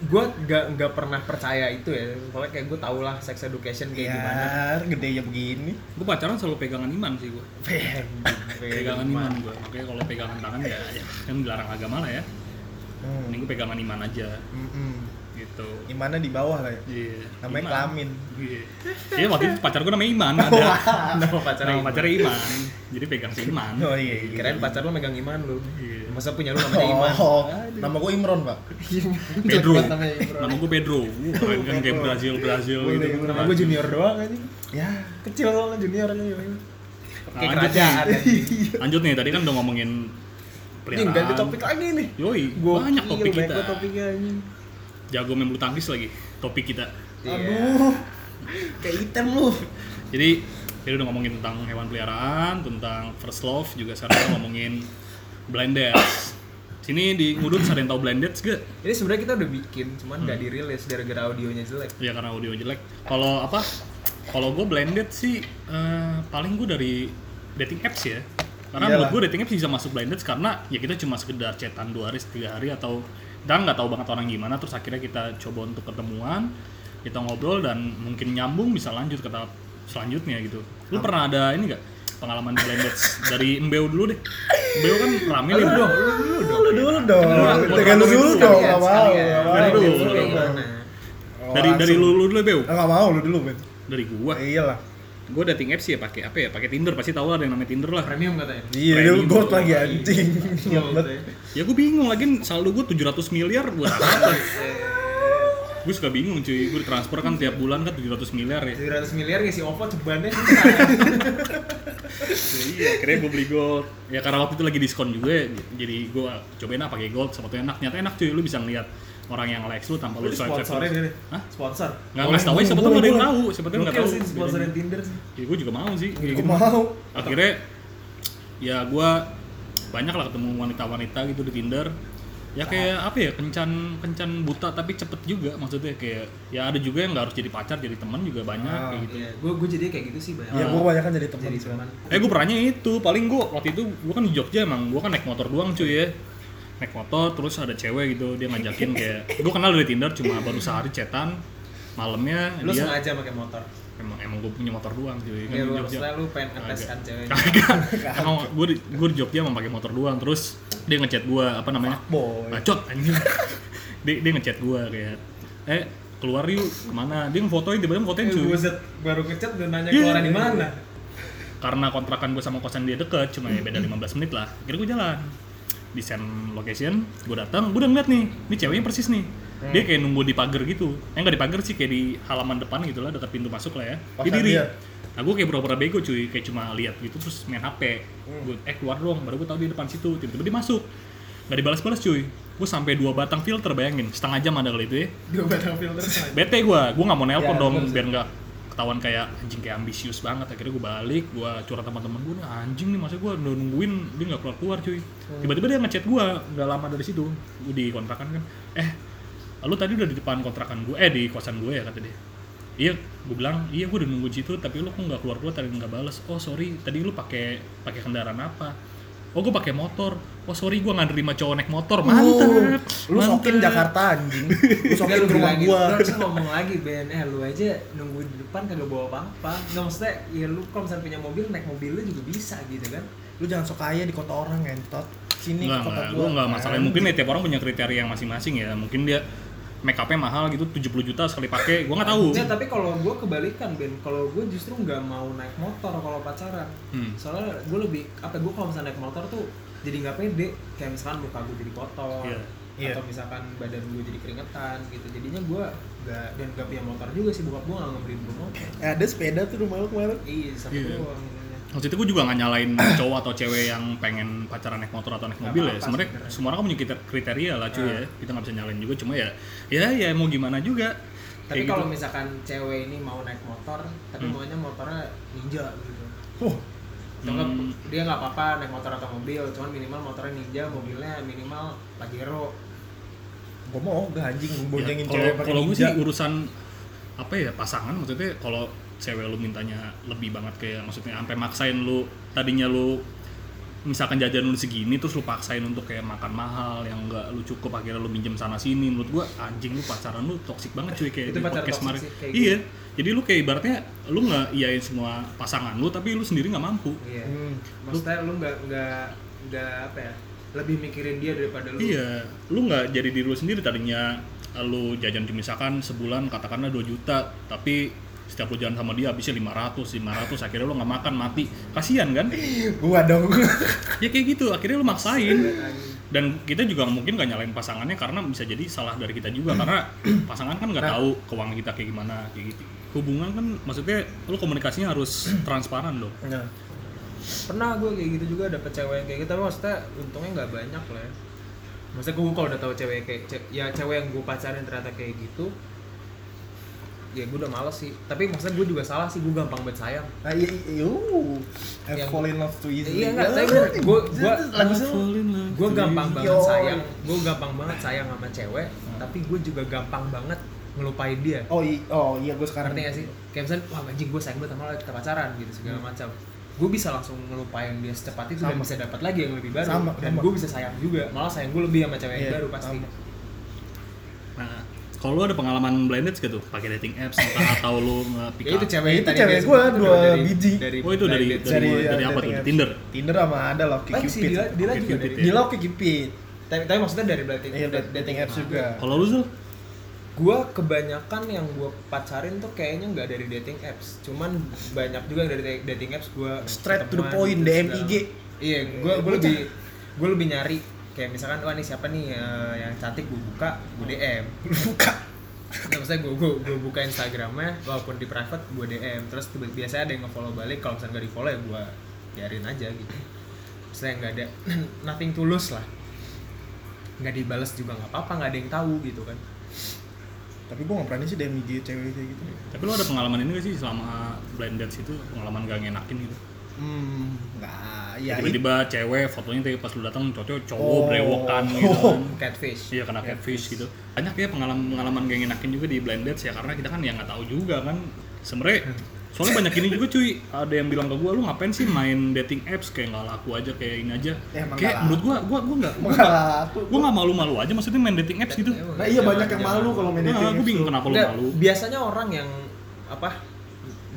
[SPEAKER 2] gue nggak nggak pernah percaya itu ya soalnya kayak gue tau lah sex education
[SPEAKER 1] Iya.
[SPEAKER 2] kayak gimana
[SPEAKER 3] ya gede ya begini
[SPEAKER 1] Gue pacaran selalu pegangan iman sih gue. Pegangan iman gue. Makanya kalau pegangan tangan ya, ya kan dilarang agama lah ya.
[SPEAKER 3] hmm.
[SPEAKER 1] Mending gue pegangan iman aja
[SPEAKER 3] Mm-mm.
[SPEAKER 1] gitu.
[SPEAKER 3] imannya di bawah lah ya
[SPEAKER 1] Iya.
[SPEAKER 3] namanya
[SPEAKER 1] iman.
[SPEAKER 3] kelamin
[SPEAKER 1] Iya. Iya waktu itu pacar gue namanya Iman ada.
[SPEAKER 2] Nama
[SPEAKER 1] Nah,
[SPEAKER 2] pacaran
[SPEAKER 1] Nama pacarnya Iman. Jadi pegang si Iman.
[SPEAKER 3] oh iya iya
[SPEAKER 2] keren pacar lu megang iman lu
[SPEAKER 1] gitu. Iya.
[SPEAKER 2] masa punya lu namanya iman
[SPEAKER 3] Oh, nama gue Imron pak.
[SPEAKER 1] Pedro.
[SPEAKER 4] Jelek banget namanya, bro.
[SPEAKER 1] Nama gue Pedro. Wuh, keren kan kayak Brazil Brazil
[SPEAKER 4] Boleh,
[SPEAKER 1] gitu.
[SPEAKER 4] boleh.
[SPEAKER 2] nama gue junior doang aja
[SPEAKER 3] Ya,
[SPEAKER 2] kecil soalnya junior aja iya. kayak
[SPEAKER 1] Lanjut
[SPEAKER 2] kerajaan anjing.
[SPEAKER 1] Lanjut nih, tadi kan udah ngomongin
[SPEAKER 2] Ini
[SPEAKER 1] peliharaan.
[SPEAKER 2] ganti topik lagi nih.
[SPEAKER 1] Yoi,
[SPEAKER 2] Gokil,
[SPEAKER 1] banyak topik
[SPEAKER 2] banyak
[SPEAKER 1] kita.
[SPEAKER 2] banget topiknya anjing.
[SPEAKER 1] Jago main bulu tangkis lagi topik kita.
[SPEAKER 2] Aduh.
[SPEAKER 3] Iya. kayak item lu.
[SPEAKER 1] Jadi jadi udah ngomongin tentang hewan peliharaan, tentang first love juga sekarang kita ngomongin blind dates. Sini di Ngudut ada yang tahu blind dates gak?
[SPEAKER 2] Ini sebenarnya kita udah bikin, cuman nggak
[SPEAKER 1] Hmm.
[SPEAKER 2] dirilis gara-gara audionya jelek.
[SPEAKER 1] Ya karena audio jelek. Kalau apa? Kalau gue blended sih eh, paling gue dari dating apps ya. Karena
[SPEAKER 3] Iyalah.
[SPEAKER 1] menurut gue dating apps bisa masuk blended karena ya kita cuma sekedar chatan dua hari, tiga hari atau dan nggak tahu banget orang gimana terus akhirnya kita coba untuk ketemuan, kita ngobrol dan mungkin nyambung bisa lanjut ke tahap selanjutnya gitu. Lu pernah ada ini nggak pengalaman di blended dari Mbeo dulu deh. Mbeo kan rame nih. Bro.
[SPEAKER 3] Lu dulu dong.
[SPEAKER 1] Lu-
[SPEAKER 3] Tekan lu
[SPEAKER 1] lu-
[SPEAKER 3] dulu
[SPEAKER 1] lu-
[SPEAKER 3] dong.
[SPEAKER 2] sekalian,
[SPEAKER 3] Gak mau.
[SPEAKER 2] sekalian.
[SPEAKER 3] nggak mau.
[SPEAKER 1] Dari dulu.
[SPEAKER 3] Lu
[SPEAKER 1] Dari
[SPEAKER 3] dong.
[SPEAKER 2] Gimana?
[SPEAKER 3] Oh,
[SPEAKER 1] Dari dari
[SPEAKER 3] langsung.
[SPEAKER 1] lu lu dulu Beo.
[SPEAKER 3] Eh, Nggak mau lu dulu Ben.
[SPEAKER 1] Dari gua.
[SPEAKER 3] Eh, Iyalah.
[SPEAKER 1] Gue dating apps ya pakai apa ya? Pakai Tinder pasti tahu lah ada yang namanya Tinder lah.
[SPEAKER 2] Premium katanya.
[SPEAKER 3] Iya,
[SPEAKER 1] Premium.
[SPEAKER 3] lu gold lagi anjing.
[SPEAKER 2] Iya,
[SPEAKER 3] Goblok.
[SPEAKER 2] betul.
[SPEAKER 1] Ya gue bingung lagi saldo gue 700 miliar buat apa? gue suka bingung cuy, gue transfer kan tiap bulan kan 700 miliar ya.
[SPEAKER 2] 700 miliar ngisi OVO cebannya
[SPEAKER 1] Ya Iya, akhirnya gue beli gold. Ya karena waktu itu lagi diskon juga, ya, jadi gue cobain ah pakai gold, sepatu enak. Nyata enak cuy, lu bisa ngeliat orang yang likes lu tanpa lu swipe swipe.
[SPEAKER 2] sponsorin ini.
[SPEAKER 1] Hah?
[SPEAKER 2] Sponsor.
[SPEAKER 1] Nggak ngasih tau aja, siapa tuh nggak ada yang tahu, siapa tuh nggak
[SPEAKER 2] Gokil
[SPEAKER 1] tahu.
[SPEAKER 2] sih sponsorin Tinder sih.
[SPEAKER 1] Ya gue juga mau sih. kayak
[SPEAKER 3] Gak
[SPEAKER 1] gitu.
[SPEAKER 3] mau.
[SPEAKER 1] akhirnya ya gua banyak lah ketemu wanita-wanita gitu di Tinder ya kayak apa ya kencan kencan buta tapi cepet juga maksudnya kayak ya ada juga yang nggak harus jadi pacar jadi teman juga banyak
[SPEAKER 3] Ah.
[SPEAKER 1] kayak gitu
[SPEAKER 2] Iya, gue gue jadi kayak gitu sih banyak.
[SPEAKER 1] Iya.
[SPEAKER 3] Ya gua banyak kan jadi teman
[SPEAKER 2] Jadi
[SPEAKER 3] sih.
[SPEAKER 2] cuman
[SPEAKER 1] eh gue perannya itu paling gue waktu itu gue kan di Jogja emang gue kan naik motor doang cuy ya naik motor terus ada cewek gitu dia ngajakin kayak gue kenal dari Tinder cuma baru sehari cetan malamnya
[SPEAKER 2] lu
[SPEAKER 1] dia
[SPEAKER 2] sengaja pakai motor.
[SPEAKER 1] emang emang gue punya motor doang cuy kan di
[SPEAKER 2] Ya lu
[SPEAKER 1] Jogja.
[SPEAKER 2] maksudnya lu pengen ngetes kan ceweknya.
[SPEAKER 1] Kagak. emang gue di, gue di Jogja emang pakai motor doang terus dia ngechat gue apa namanya
[SPEAKER 3] boy
[SPEAKER 1] bacot anjing dia, dia ngechat gue kayak eh keluar yuk kemana dia ngefotoin tiba-tiba ngefotoin
[SPEAKER 2] Eh,
[SPEAKER 1] cuy
[SPEAKER 2] buset, baru ngechat dan nanya
[SPEAKER 1] Iya.
[SPEAKER 2] keluaran di mana.
[SPEAKER 1] karena kontrakan gue sama kosan dia deket cuma ya beda 15 menit lah akhirnya gue jalan di send location gue datang gue udah ngeliat nih ini ceweknya persis nih dia kayak nunggu di pagar gitu eh nggak di pagar sih kayak di halaman depan gitu lah dekat pintu masuk lah ya
[SPEAKER 3] Kosan
[SPEAKER 1] dia diri
[SPEAKER 3] dia.
[SPEAKER 1] nah gue kayak pura-pura bego cuy kayak cuma lihat gitu terus main hp gue eh keluar dong baru gue tahu dia depan situ tiba-tiba dia masuk nggak dibalas-balas cuy gue sampai dua batang filter bayangin setengah jam ada kali itu ya
[SPEAKER 2] Dua batang filter sama.
[SPEAKER 1] bete gue gue nggak mau nelpon
[SPEAKER 3] Ya,
[SPEAKER 1] dong
[SPEAKER 3] bener sih.
[SPEAKER 1] biar nggak ketahuan kayak anjing kayak ambisius banget akhirnya gue balik gue curhat sama temen gue nih anjing nih masa gue udah nungguin dia nggak keluar keluar cuy
[SPEAKER 3] Hmm.
[SPEAKER 1] tiba-tiba dia ngechat gue nggak lama dari situ gue di kontrakan kan eh lu tadi udah di depan kontrakan gue eh di kosan gue ya kata dia iya gue bilang iya gue udah nunggu di situ tapi lu kok nggak keluar keluar tadi nggak balas oh sorry tadi lu pakai pakai kendaraan apa oh gue pakai motor oh sorry gue nggak nerima cowok naik
[SPEAKER 3] Oh.
[SPEAKER 1] motor mantap
[SPEAKER 3] lu sokin
[SPEAKER 1] mantap.
[SPEAKER 3] Jakarta anjing lu
[SPEAKER 2] Enggak,
[SPEAKER 3] sokin
[SPEAKER 2] lu
[SPEAKER 3] ke rumah
[SPEAKER 2] bilangin,
[SPEAKER 3] gua
[SPEAKER 2] "Bro, sih ngomong lagi Ben, eh lu aja nunggu di depan kagak bawa apa-apa. Enggak maksudnya ya lu kalau misalnya punya mobil naik mobil lu juga bisa gitu kan.
[SPEAKER 3] lu jangan sok kaya di kota orang entot sini
[SPEAKER 1] Enggak,
[SPEAKER 3] ke kota
[SPEAKER 1] enggak,
[SPEAKER 3] gua
[SPEAKER 1] gue enggak masalah. Mungkin ya tiap orang punya kriteria yang masing-masing ya. Mungkin dia make up-nya mahal gitu 70 juta sekali pakai. Gua nggak tahu.
[SPEAKER 2] Nggak, tapi kalau gue kebalikan Ben, kalau gue justru nggak mau naik motor kalau pacaran.
[SPEAKER 1] Hmm.
[SPEAKER 2] Soalnya gue lebih apa gue kalau misalnya naik motor tuh jadi nggak pede, kayak misalkan muka gue jadi kotor.
[SPEAKER 1] Iya.
[SPEAKER 3] Iya.
[SPEAKER 2] atau misalkan badan gue jadi keringetan gitu jadinya gue nggak dan nggak punya motor juga sih bokap gue nggak ngebeliin gue motor
[SPEAKER 3] Eh, ada sepeda tuh rumah lu kemarin
[SPEAKER 2] iya sama
[SPEAKER 1] Iya.
[SPEAKER 2] doang ininya.
[SPEAKER 1] Maksudnya gue juga nggak nyalain cowok atau cewek yang pengen pacaran naik motor atau naik
[SPEAKER 2] Nggak
[SPEAKER 1] mobil ya.
[SPEAKER 2] apa-apa
[SPEAKER 1] Sebenarnya
[SPEAKER 2] sebenarnya. Nah.
[SPEAKER 1] semua orang punya kriter- kriteria lah cuy ya. Kita nggak bisa nyalain juga. Cuma ya, ya ya mau gimana juga.
[SPEAKER 2] tapi
[SPEAKER 1] Kayak
[SPEAKER 2] kalau
[SPEAKER 1] gitu.
[SPEAKER 2] misalkan cewek ini mau naik motor tapi
[SPEAKER 1] Hmm.
[SPEAKER 2] maunya motornya ninja gitu
[SPEAKER 3] Huh,
[SPEAKER 2] atau nggak,
[SPEAKER 1] Hmm.
[SPEAKER 2] dia nggak apa-apa naik motor atau mobil cuman minimal motornya ninja mobilnya minimal pajero
[SPEAKER 3] gua mau gak anjing gua
[SPEAKER 1] Ya,
[SPEAKER 3] boncengin
[SPEAKER 1] kalau
[SPEAKER 3] cewek pakai
[SPEAKER 1] kalau gue sih
[SPEAKER 3] ninja.
[SPEAKER 1] urusan apa ya pasangan maksudnya kalau cewek lu mintanya lebih banget kayak maksudnya sampai maksain lu tadinya lu misalkan jajan lu segini terus lu paksain untuk kayak makan mahal yang enggak lu cukup akhirnya lu minjem sana sini menurut gua anjing lu pacaran lu toksik banget cuy kayak
[SPEAKER 2] Itu
[SPEAKER 1] di
[SPEAKER 2] pacaran
[SPEAKER 1] podcast
[SPEAKER 2] toksik
[SPEAKER 1] kemarin
[SPEAKER 2] sih, kayak
[SPEAKER 1] iya
[SPEAKER 3] gitu.
[SPEAKER 1] jadi lu kayak ibaratnya lu nggak iyain semua pasangan lu tapi lu sendiri nggak mampu
[SPEAKER 2] iya
[SPEAKER 3] Hmm.
[SPEAKER 2] maksudnya lu nggak nggak nggak apa ya lebih mikirin dia daripada lu
[SPEAKER 1] Iya, lu nggak jadi diri lu sendiri tadinya lu jajan cuma misalkan sebulan katakanlah 2 juta, tapi setiap lu jalan sama dia habisnya 500, 500 akhirnya lu nggak makan mati. Kasihan kan?
[SPEAKER 3] Hmm. gua dong
[SPEAKER 1] Ya kayak gitu, akhirnya lu maksain.
[SPEAKER 2] Anjing.
[SPEAKER 1] Dan kita juga mungkin nggak nyalain pasangannya karena bisa jadi salah dari kita juga karena pasangan kan
[SPEAKER 2] Nah.
[SPEAKER 1] nggak tahu keuangan kita kayak gimana kayak gitu. Hubungan kan maksudnya lu komunikasinya harus transparan dong.
[SPEAKER 3] nah,
[SPEAKER 2] pernah gue kayak gitu juga dapet cewek yang kayak gitu tapi maksudnya untungnya nggak banyak lah ya maksudnya gue kalau udah tahu cewek yang kayak ce- ya cewek yang gue pacarin ternyata kayak gitu ya gue udah males sih tapi maksudnya gue juga salah sih gue gampang banget sayang
[SPEAKER 3] nah iya iya yuh. I
[SPEAKER 2] Yang-
[SPEAKER 3] fall in love too easily Nah,
[SPEAKER 2] iya nggak tapi gue gue gue
[SPEAKER 3] lagu sih Hmm.
[SPEAKER 2] gue gampang banget
[SPEAKER 3] Yo.
[SPEAKER 2] sayang gue gampang banget sayang sama cewek tapi gue juga gampang banget ngelupain dia
[SPEAKER 3] oh iya oh iya gua sekarang
[SPEAKER 2] ngerti gak sih kayak misalnya wah anjing gue sayang banget sama lo kita pacaran gitu segala macam gue bisa langsung ngelupain dia secepat itu dan
[SPEAKER 3] Hmm. Sama.
[SPEAKER 2] bisa dapat lagi yang lebih baru
[SPEAKER 3] Sama,
[SPEAKER 2] dan
[SPEAKER 3] sama.
[SPEAKER 2] gue bisa sayang juga malah sayang gue lebih sama cewek yang
[SPEAKER 3] Iya,
[SPEAKER 2] baru pasti Ya
[SPEAKER 3] sama.
[SPEAKER 1] Nah, kalau lu ada pengalaman blended gitu, pakai dating apps entah atau lu nge-pick
[SPEAKER 2] ya
[SPEAKER 1] up
[SPEAKER 2] itu cewek
[SPEAKER 3] Itu
[SPEAKER 2] tadi
[SPEAKER 3] cewek gua
[SPEAKER 2] dia sebut, itu
[SPEAKER 3] dua
[SPEAKER 2] dari-
[SPEAKER 3] biji.
[SPEAKER 1] Oh, itu dari-
[SPEAKER 2] dari-
[SPEAKER 1] dari- apa tuh?
[SPEAKER 3] dating apps.
[SPEAKER 1] Tinder?
[SPEAKER 3] Tinder sama ada lah
[SPEAKER 2] Lain sih,
[SPEAKER 3] Cupid
[SPEAKER 2] Dila, Dila
[SPEAKER 1] Oke,
[SPEAKER 2] juga
[SPEAKER 1] Cupid
[SPEAKER 2] dari
[SPEAKER 1] ya.
[SPEAKER 3] Dila oke Cupid
[SPEAKER 2] tapi, tapi maksudnya dari dating,
[SPEAKER 3] iya
[SPEAKER 2] dating,
[SPEAKER 3] dating apps juga
[SPEAKER 1] Kalau lu Zul?
[SPEAKER 2] gue kebanyakan yang gue pacarin tuh kayaknya nggak dari dating apps cuman banyak juga yang dari da- dating apps gue
[SPEAKER 3] Straight to the point, DM IG.
[SPEAKER 2] iya gue gue lebih gue lebih nyari kayak misalkan wah ini siapa nih eh, yang cantik gue buka gue DM
[SPEAKER 3] buka
[SPEAKER 2] Nggak, maksudnya gue gue gue buka Instagramnya walaupun di private gue DM terus tiba biasanya ada yang nge-follow balik kalau misalnya nggak di follow ya gue biarin aja gitu misalnya nggak ada nothing tulus lah nggak dibales juga nggak apa-apa nggak ada yang tahu gitu kan
[SPEAKER 3] tapi gua nggak berani sih DM IG cewek kayak gitu
[SPEAKER 1] Tapi lu ada pengalaman ini gak sih selama blended situ pengalaman gak ngenakin gitu?
[SPEAKER 3] hmm nggak ya itu
[SPEAKER 1] Tiba-tiba cewek fotonya tadi pas lu datang cowok cowok
[SPEAKER 3] Oh.
[SPEAKER 1] brewokan gitu kan.
[SPEAKER 2] catfish
[SPEAKER 1] Iya kena catfish gitu. Banyak ya pengalaman-pengalaman gak ngenakin juga di blended ya karena kita kan ya nggak tahu juga kan. Sebenernya soalnya banyak ini juga cuy ada yang bilang ke gua lu ngapain sih main dating apps kayak nggak laku aja kayak ini aja
[SPEAKER 3] Ya, emang nggak
[SPEAKER 1] kayak
[SPEAKER 3] laku.
[SPEAKER 1] menurut gua gua gua nggak gua nggak-
[SPEAKER 3] Malah aku-
[SPEAKER 1] gua nggak malu-malu aja maksudnya main dating apps
[SPEAKER 2] iya,
[SPEAKER 1] gitu
[SPEAKER 3] nah iya banyak yang malu kalau main dating
[SPEAKER 1] nah, gua
[SPEAKER 3] apps
[SPEAKER 1] bingung
[SPEAKER 3] tuh.
[SPEAKER 1] kenapa lu
[SPEAKER 2] Nggak,
[SPEAKER 1] malu
[SPEAKER 2] biasanya orang yang apa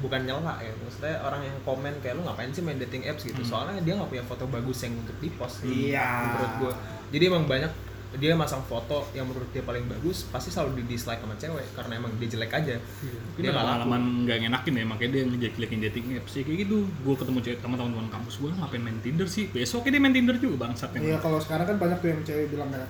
[SPEAKER 2] bukan nyela ya maksudnya orang yang komen kayak lu ngapain sih main dating apps gitu soalnya dia nggak punya foto bagus yang untuk dipost
[SPEAKER 3] Iya.
[SPEAKER 2] menurut gua jadi emang banyak dia masang foto yang menurut dia paling bagus pasti selalu di dislike sama cewek karena emang dia jelek aja
[SPEAKER 1] Ini ada pengalaman gak ngenakin ya, makanya dia ngejelek-jelekin dating apps sih kayak gitu. Gue ketemu cewek sama teman-teman kampus gue ngapain main Tinder sih? Besoknya dia main Tinder juga bangsat
[SPEAKER 5] Iya kalau sekarang kan banyak tuh yang cewek bilang kayak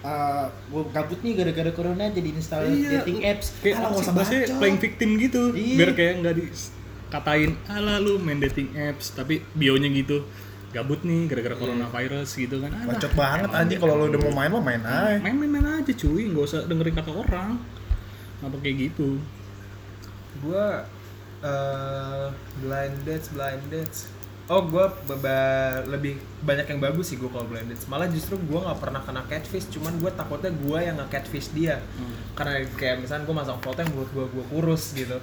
[SPEAKER 5] "Ah, gue gabut nih gara-gara corona jadi install
[SPEAKER 1] Iya,
[SPEAKER 5] dating apps.
[SPEAKER 1] Kayak
[SPEAKER 5] Alah, nggak usah
[SPEAKER 1] bahasanya
[SPEAKER 5] bacot."
[SPEAKER 1] playing victim gitu.
[SPEAKER 5] Iya.
[SPEAKER 1] Biar kayak nggak dikatain, ala lu main dating apps, tapi bionya gitu. Gabut nih gara-gara coronavirus gitu kan. Alah,
[SPEAKER 3] Iya. Bacot banget anjing kalau lo udah mau main mah main aja.
[SPEAKER 1] Main-main aja cuy, nggak usah dengerin kata orang. Kenapa kayak gitu?
[SPEAKER 2] gua eh blind dates blind dates oh gua beba- lebih banyak yang bagus sih gua kalau blind dates malah justru gua nggak pernah kena catfish cuman gua takutnya gua yang nge catfish dia karena kayak misalnya gua masang foto yang menurut gua gua kurus gitu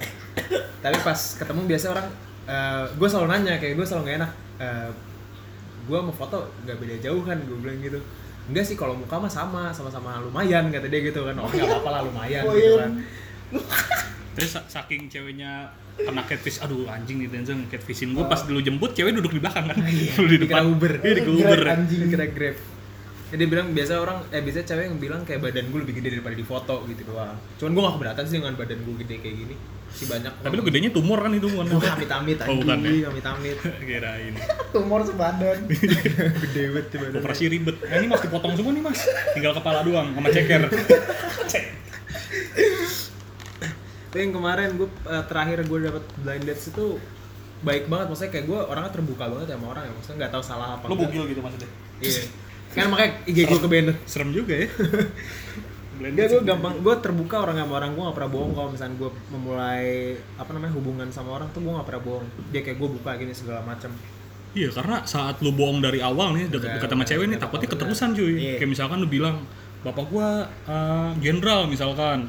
[SPEAKER 2] tapi pas ketemu biasanya orang eh gua selalu nanya kayak gua selalu gak enak eh gua mau foto nggak beda jauh kan gua bilang gitu enggak sih kalau muka mah sama sama-sama lumayan kata dia gitu kan oh nggak apa-apa lah lumayan gitu kan
[SPEAKER 1] Terus sa- saking ceweknya kena catfish, aduh anjing nih Denzel catfishin gue pas dulu jemput cewek duduk di belakang kan, dulu di
[SPEAKER 2] dikira kan.
[SPEAKER 1] depan.
[SPEAKER 2] Uber.
[SPEAKER 1] Iya dikira Uber.
[SPEAKER 2] Grab, anjing kira Grab. Jadi dia bilang biasa orang eh biasa cewek yang bilang kayak badan gue lebih gede daripada di foto gitu doang. Cuman gue gak keberatan sih dengan badan gue gede kayak gini. Si banyak.
[SPEAKER 1] Tapi lu gedenya tumor kan itu bukan?
[SPEAKER 2] Gue amit-amit
[SPEAKER 1] Oh, bukan ya?
[SPEAKER 2] anjing, amit-amit.
[SPEAKER 1] Kirain.
[SPEAKER 5] tumor sebadan.
[SPEAKER 2] Gede banget tuh badan.
[SPEAKER 1] Operasi ribet. Nah, ini mas dipotong semua nih mas. Tinggal kepala doang sama ceker.
[SPEAKER 2] Tapi yang kemarin gue terakhir gue dapet blind dates itu baik banget maksudnya kayak gue orangnya terbuka banget sama orang ya maksudnya nggak tahu salah apa
[SPEAKER 1] Lu
[SPEAKER 2] enggak.
[SPEAKER 1] bugil gitu maksudnya.
[SPEAKER 2] iya kan makanya IG gue ke banned
[SPEAKER 1] Serem juga ya.
[SPEAKER 2] Enggak, gue gampang, gue terbuka orang sama orang, gue gak pernah bohong kalau misalnya gue memulai apa namanya hubungan sama orang tuh gue gak pernah bohong dia kayak gue buka gini segala macam
[SPEAKER 1] Iya karena saat lu bohong dari awal nih dekat-dekat sama cewek nih takutnya keterusan cuy. Kayak misalkan lu bilang bapak gua eh, jenderal misalkan.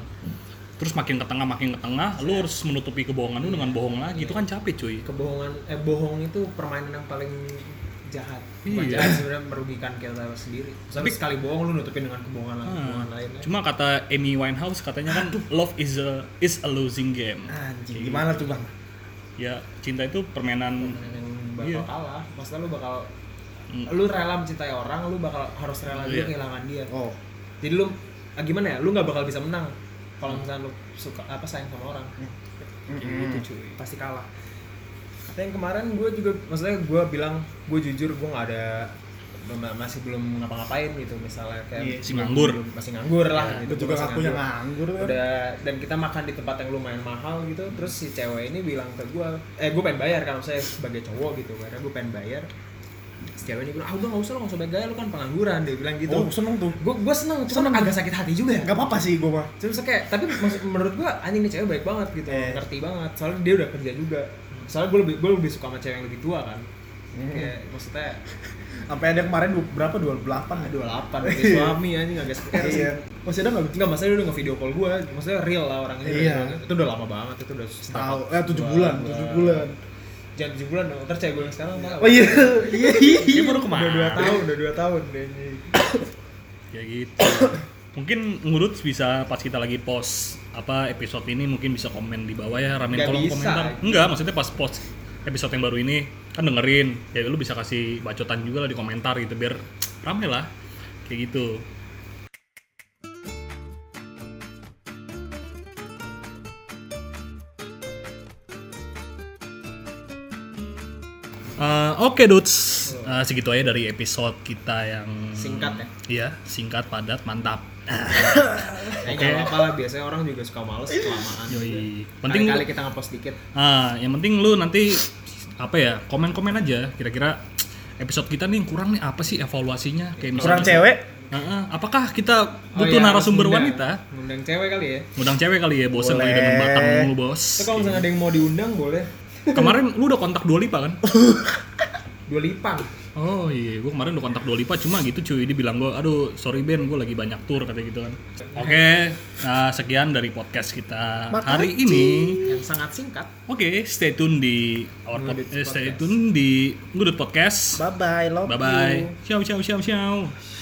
[SPEAKER 1] Terus makin ke tengah makin ke tengah, lu harus menutupi kebohongan lu dengan bohong lagi. Itu kan capek cuy.
[SPEAKER 2] kebohongan, eh bohong itu permainan yang paling jahat Bukan
[SPEAKER 1] Iya.
[SPEAKER 2] jahat sebenarnya merugikan kita sendiri tapi sekali bohong lu nutupin dengan kebohongan lain kebohongan lain
[SPEAKER 1] Hmm. Ah. Cuma kata Amy Winehouse katanya kan love is a is a losing game.
[SPEAKER 3] Anjing gimana tuh bang?
[SPEAKER 1] Ya cinta itu permainan
[SPEAKER 2] Permainan yang bakal
[SPEAKER 1] Iya.
[SPEAKER 2] kalah maksudnya lu bakal
[SPEAKER 1] Hmm.
[SPEAKER 2] lu rela mencintai orang lu bakal harus rela juga
[SPEAKER 1] Iya.
[SPEAKER 2] kehilangan dia
[SPEAKER 3] Oh,
[SPEAKER 2] jadi lu ah, gimana ya lu nggak bakal bisa menang kalau
[SPEAKER 1] Hmm.
[SPEAKER 2] misalnya lu suka apa sayang sama orang Kayak gitu
[SPEAKER 1] Hmm.
[SPEAKER 2] cuy pasti kalah tapi yang kemarin gue juga maksudnya gue bilang gue jujur gue nggak ada belum- masih belum ngapa-ngapain gitu misalnya kayak
[SPEAKER 3] Iya,
[SPEAKER 1] masih nganggur.
[SPEAKER 2] belum- masih nganggur lah gitu,
[SPEAKER 3] itu juga
[SPEAKER 2] masih
[SPEAKER 3] aku yang nganggur kan.
[SPEAKER 2] udah dan kita makan di tempat yang lumayan mahal gitu terus si cewek ini bilang ke gue eh gue pengen bayar kan saya sebagai cowok gitu karena gue pengen bayar si cewek ini bilang ah udah nggak usah lo nggak usah bayar lu kan pengangguran dia bilang gitu
[SPEAKER 3] Oh, seneng tuh.
[SPEAKER 2] gue gue seneng cuma agak sakit hati juga ya
[SPEAKER 3] Gak apa-apa sih gue mah.
[SPEAKER 2] terus kayak tapi maksud- menurut gue anjing nih cewek baik banget gitu
[SPEAKER 3] Eh.
[SPEAKER 2] ngerti banget soalnya dia udah kerja juga soalnya gue lebih gue lebih suka sama cewek yang lebih tua kan
[SPEAKER 3] Hmm.
[SPEAKER 2] kayak maksudnya
[SPEAKER 3] Sampai ada kemarin du- berapa 28 ya?
[SPEAKER 2] 28 udah suami anjing agak sakit hati
[SPEAKER 3] Iya. Masih ada nggak?
[SPEAKER 2] Enggak, maksudnya dia udah nge-video call gue, maksudnya real lah orang ini
[SPEAKER 3] Iya.
[SPEAKER 2] Itu udah lama banget, itu udah
[SPEAKER 3] Tahu,
[SPEAKER 2] setahun
[SPEAKER 3] eh 7 bulan, 7 bulan.
[SPEAKER 2] Jangan 7 bulan dong, ntar cewek gue yang sekarang tau
[SPEAKER 3] Oh iya, iya.
[SPEAKER 1] Dia baru
[SPEAKER 2] Udah 2
[SPEAKER 1] kemarin.
[SPEAKER 2] tahun, udah 2 tahun deh ini.
[SPEAKER 1] Ya gitu. mungkin ngurut bisa pas kita lagi post apa episode ini mungkin bisa komen di bawah ya ramen
[SPEAKER 2] Nggak
[SPEAKER 1] kolom
[SPEAKER 2] bisa.
[SPEAKER 1] komentar. Enggak, maksudnya pas post episode yang baru ini kan dengerin. Ya lu bisa kasih bacotan juga lah di komentar gitu biar rame lah. Kayak gitu. Eh, Oke Dudes, Eh, segitu aja dari episode kita yang
[SPEAKER 2] Singkat ya?
[SPEAKER 1] Iya, singkat, padat, mantap.
[SPEAKER 2] Eh, nggak apa-apa lah, biasanya orang juga suka males kelamaan
[SPEAKER 1] Yoi. Iya. Penting
[SPEAKER 2] Penting kali kita nge-post dikit
[SPEAKER 1] ah, yang penting lu nanti apa ya, komen-komen aja kira-kira episode kita nih yang kurang nih apa sih evaluasinya kayak misalnya
[SPEAKER 3] Kurang cewek.
[SPEAKER 1] Heeh, apakah kita
[SPEAKER 2] Oh
[SPEAKER 1] butuh
[SPEAKER 2] iya,
[SPEAKER 1] narasumber
[SPEAKER 2] harus
[SPEAKER 1] wanita?
[SPEAKER 2] ngundang- Ngundang cewek kali ya
[SPEAKER 1] Undang cewek kali ya, bosen kali dengan
[SPEAKER 3] Boleh.
[SPEAKER 1] batang lu,
[SPEAKER 2] Terus
[SPEAKER 1] Bos.
[SPEAKER 2] kalau misalnya ada yang mau diundang boleh
[SPEAKER 1] Kemarin lu udah kontak Dua Lipa kan?
[SPEAKER 2] Dua lipang
[SPEAKER 1] Oh iya, gue kemarin udah kontak Dua Lipa cuma gitu cuy, dia bilang gue, aduh sorry Ben, gue lagi banyak tour katanya gitu kan. Oke, nah sekian dari podcast kita hari ini.
[SPEAKER 2] Yang sangat singkat
[SPEAKER 1] Oke, stay tune di our pod-
[SPEAKER 2] Ngudut
[SPEAKER 1] eh, stay tune di Ngudut Podcast.
[SPEAKER 3] Bye bye, love
[SPEAKER 1] Bye
[SPEAKER 3] you.
[SPEAKER 1] bye. Ciao ciao ciao ciao.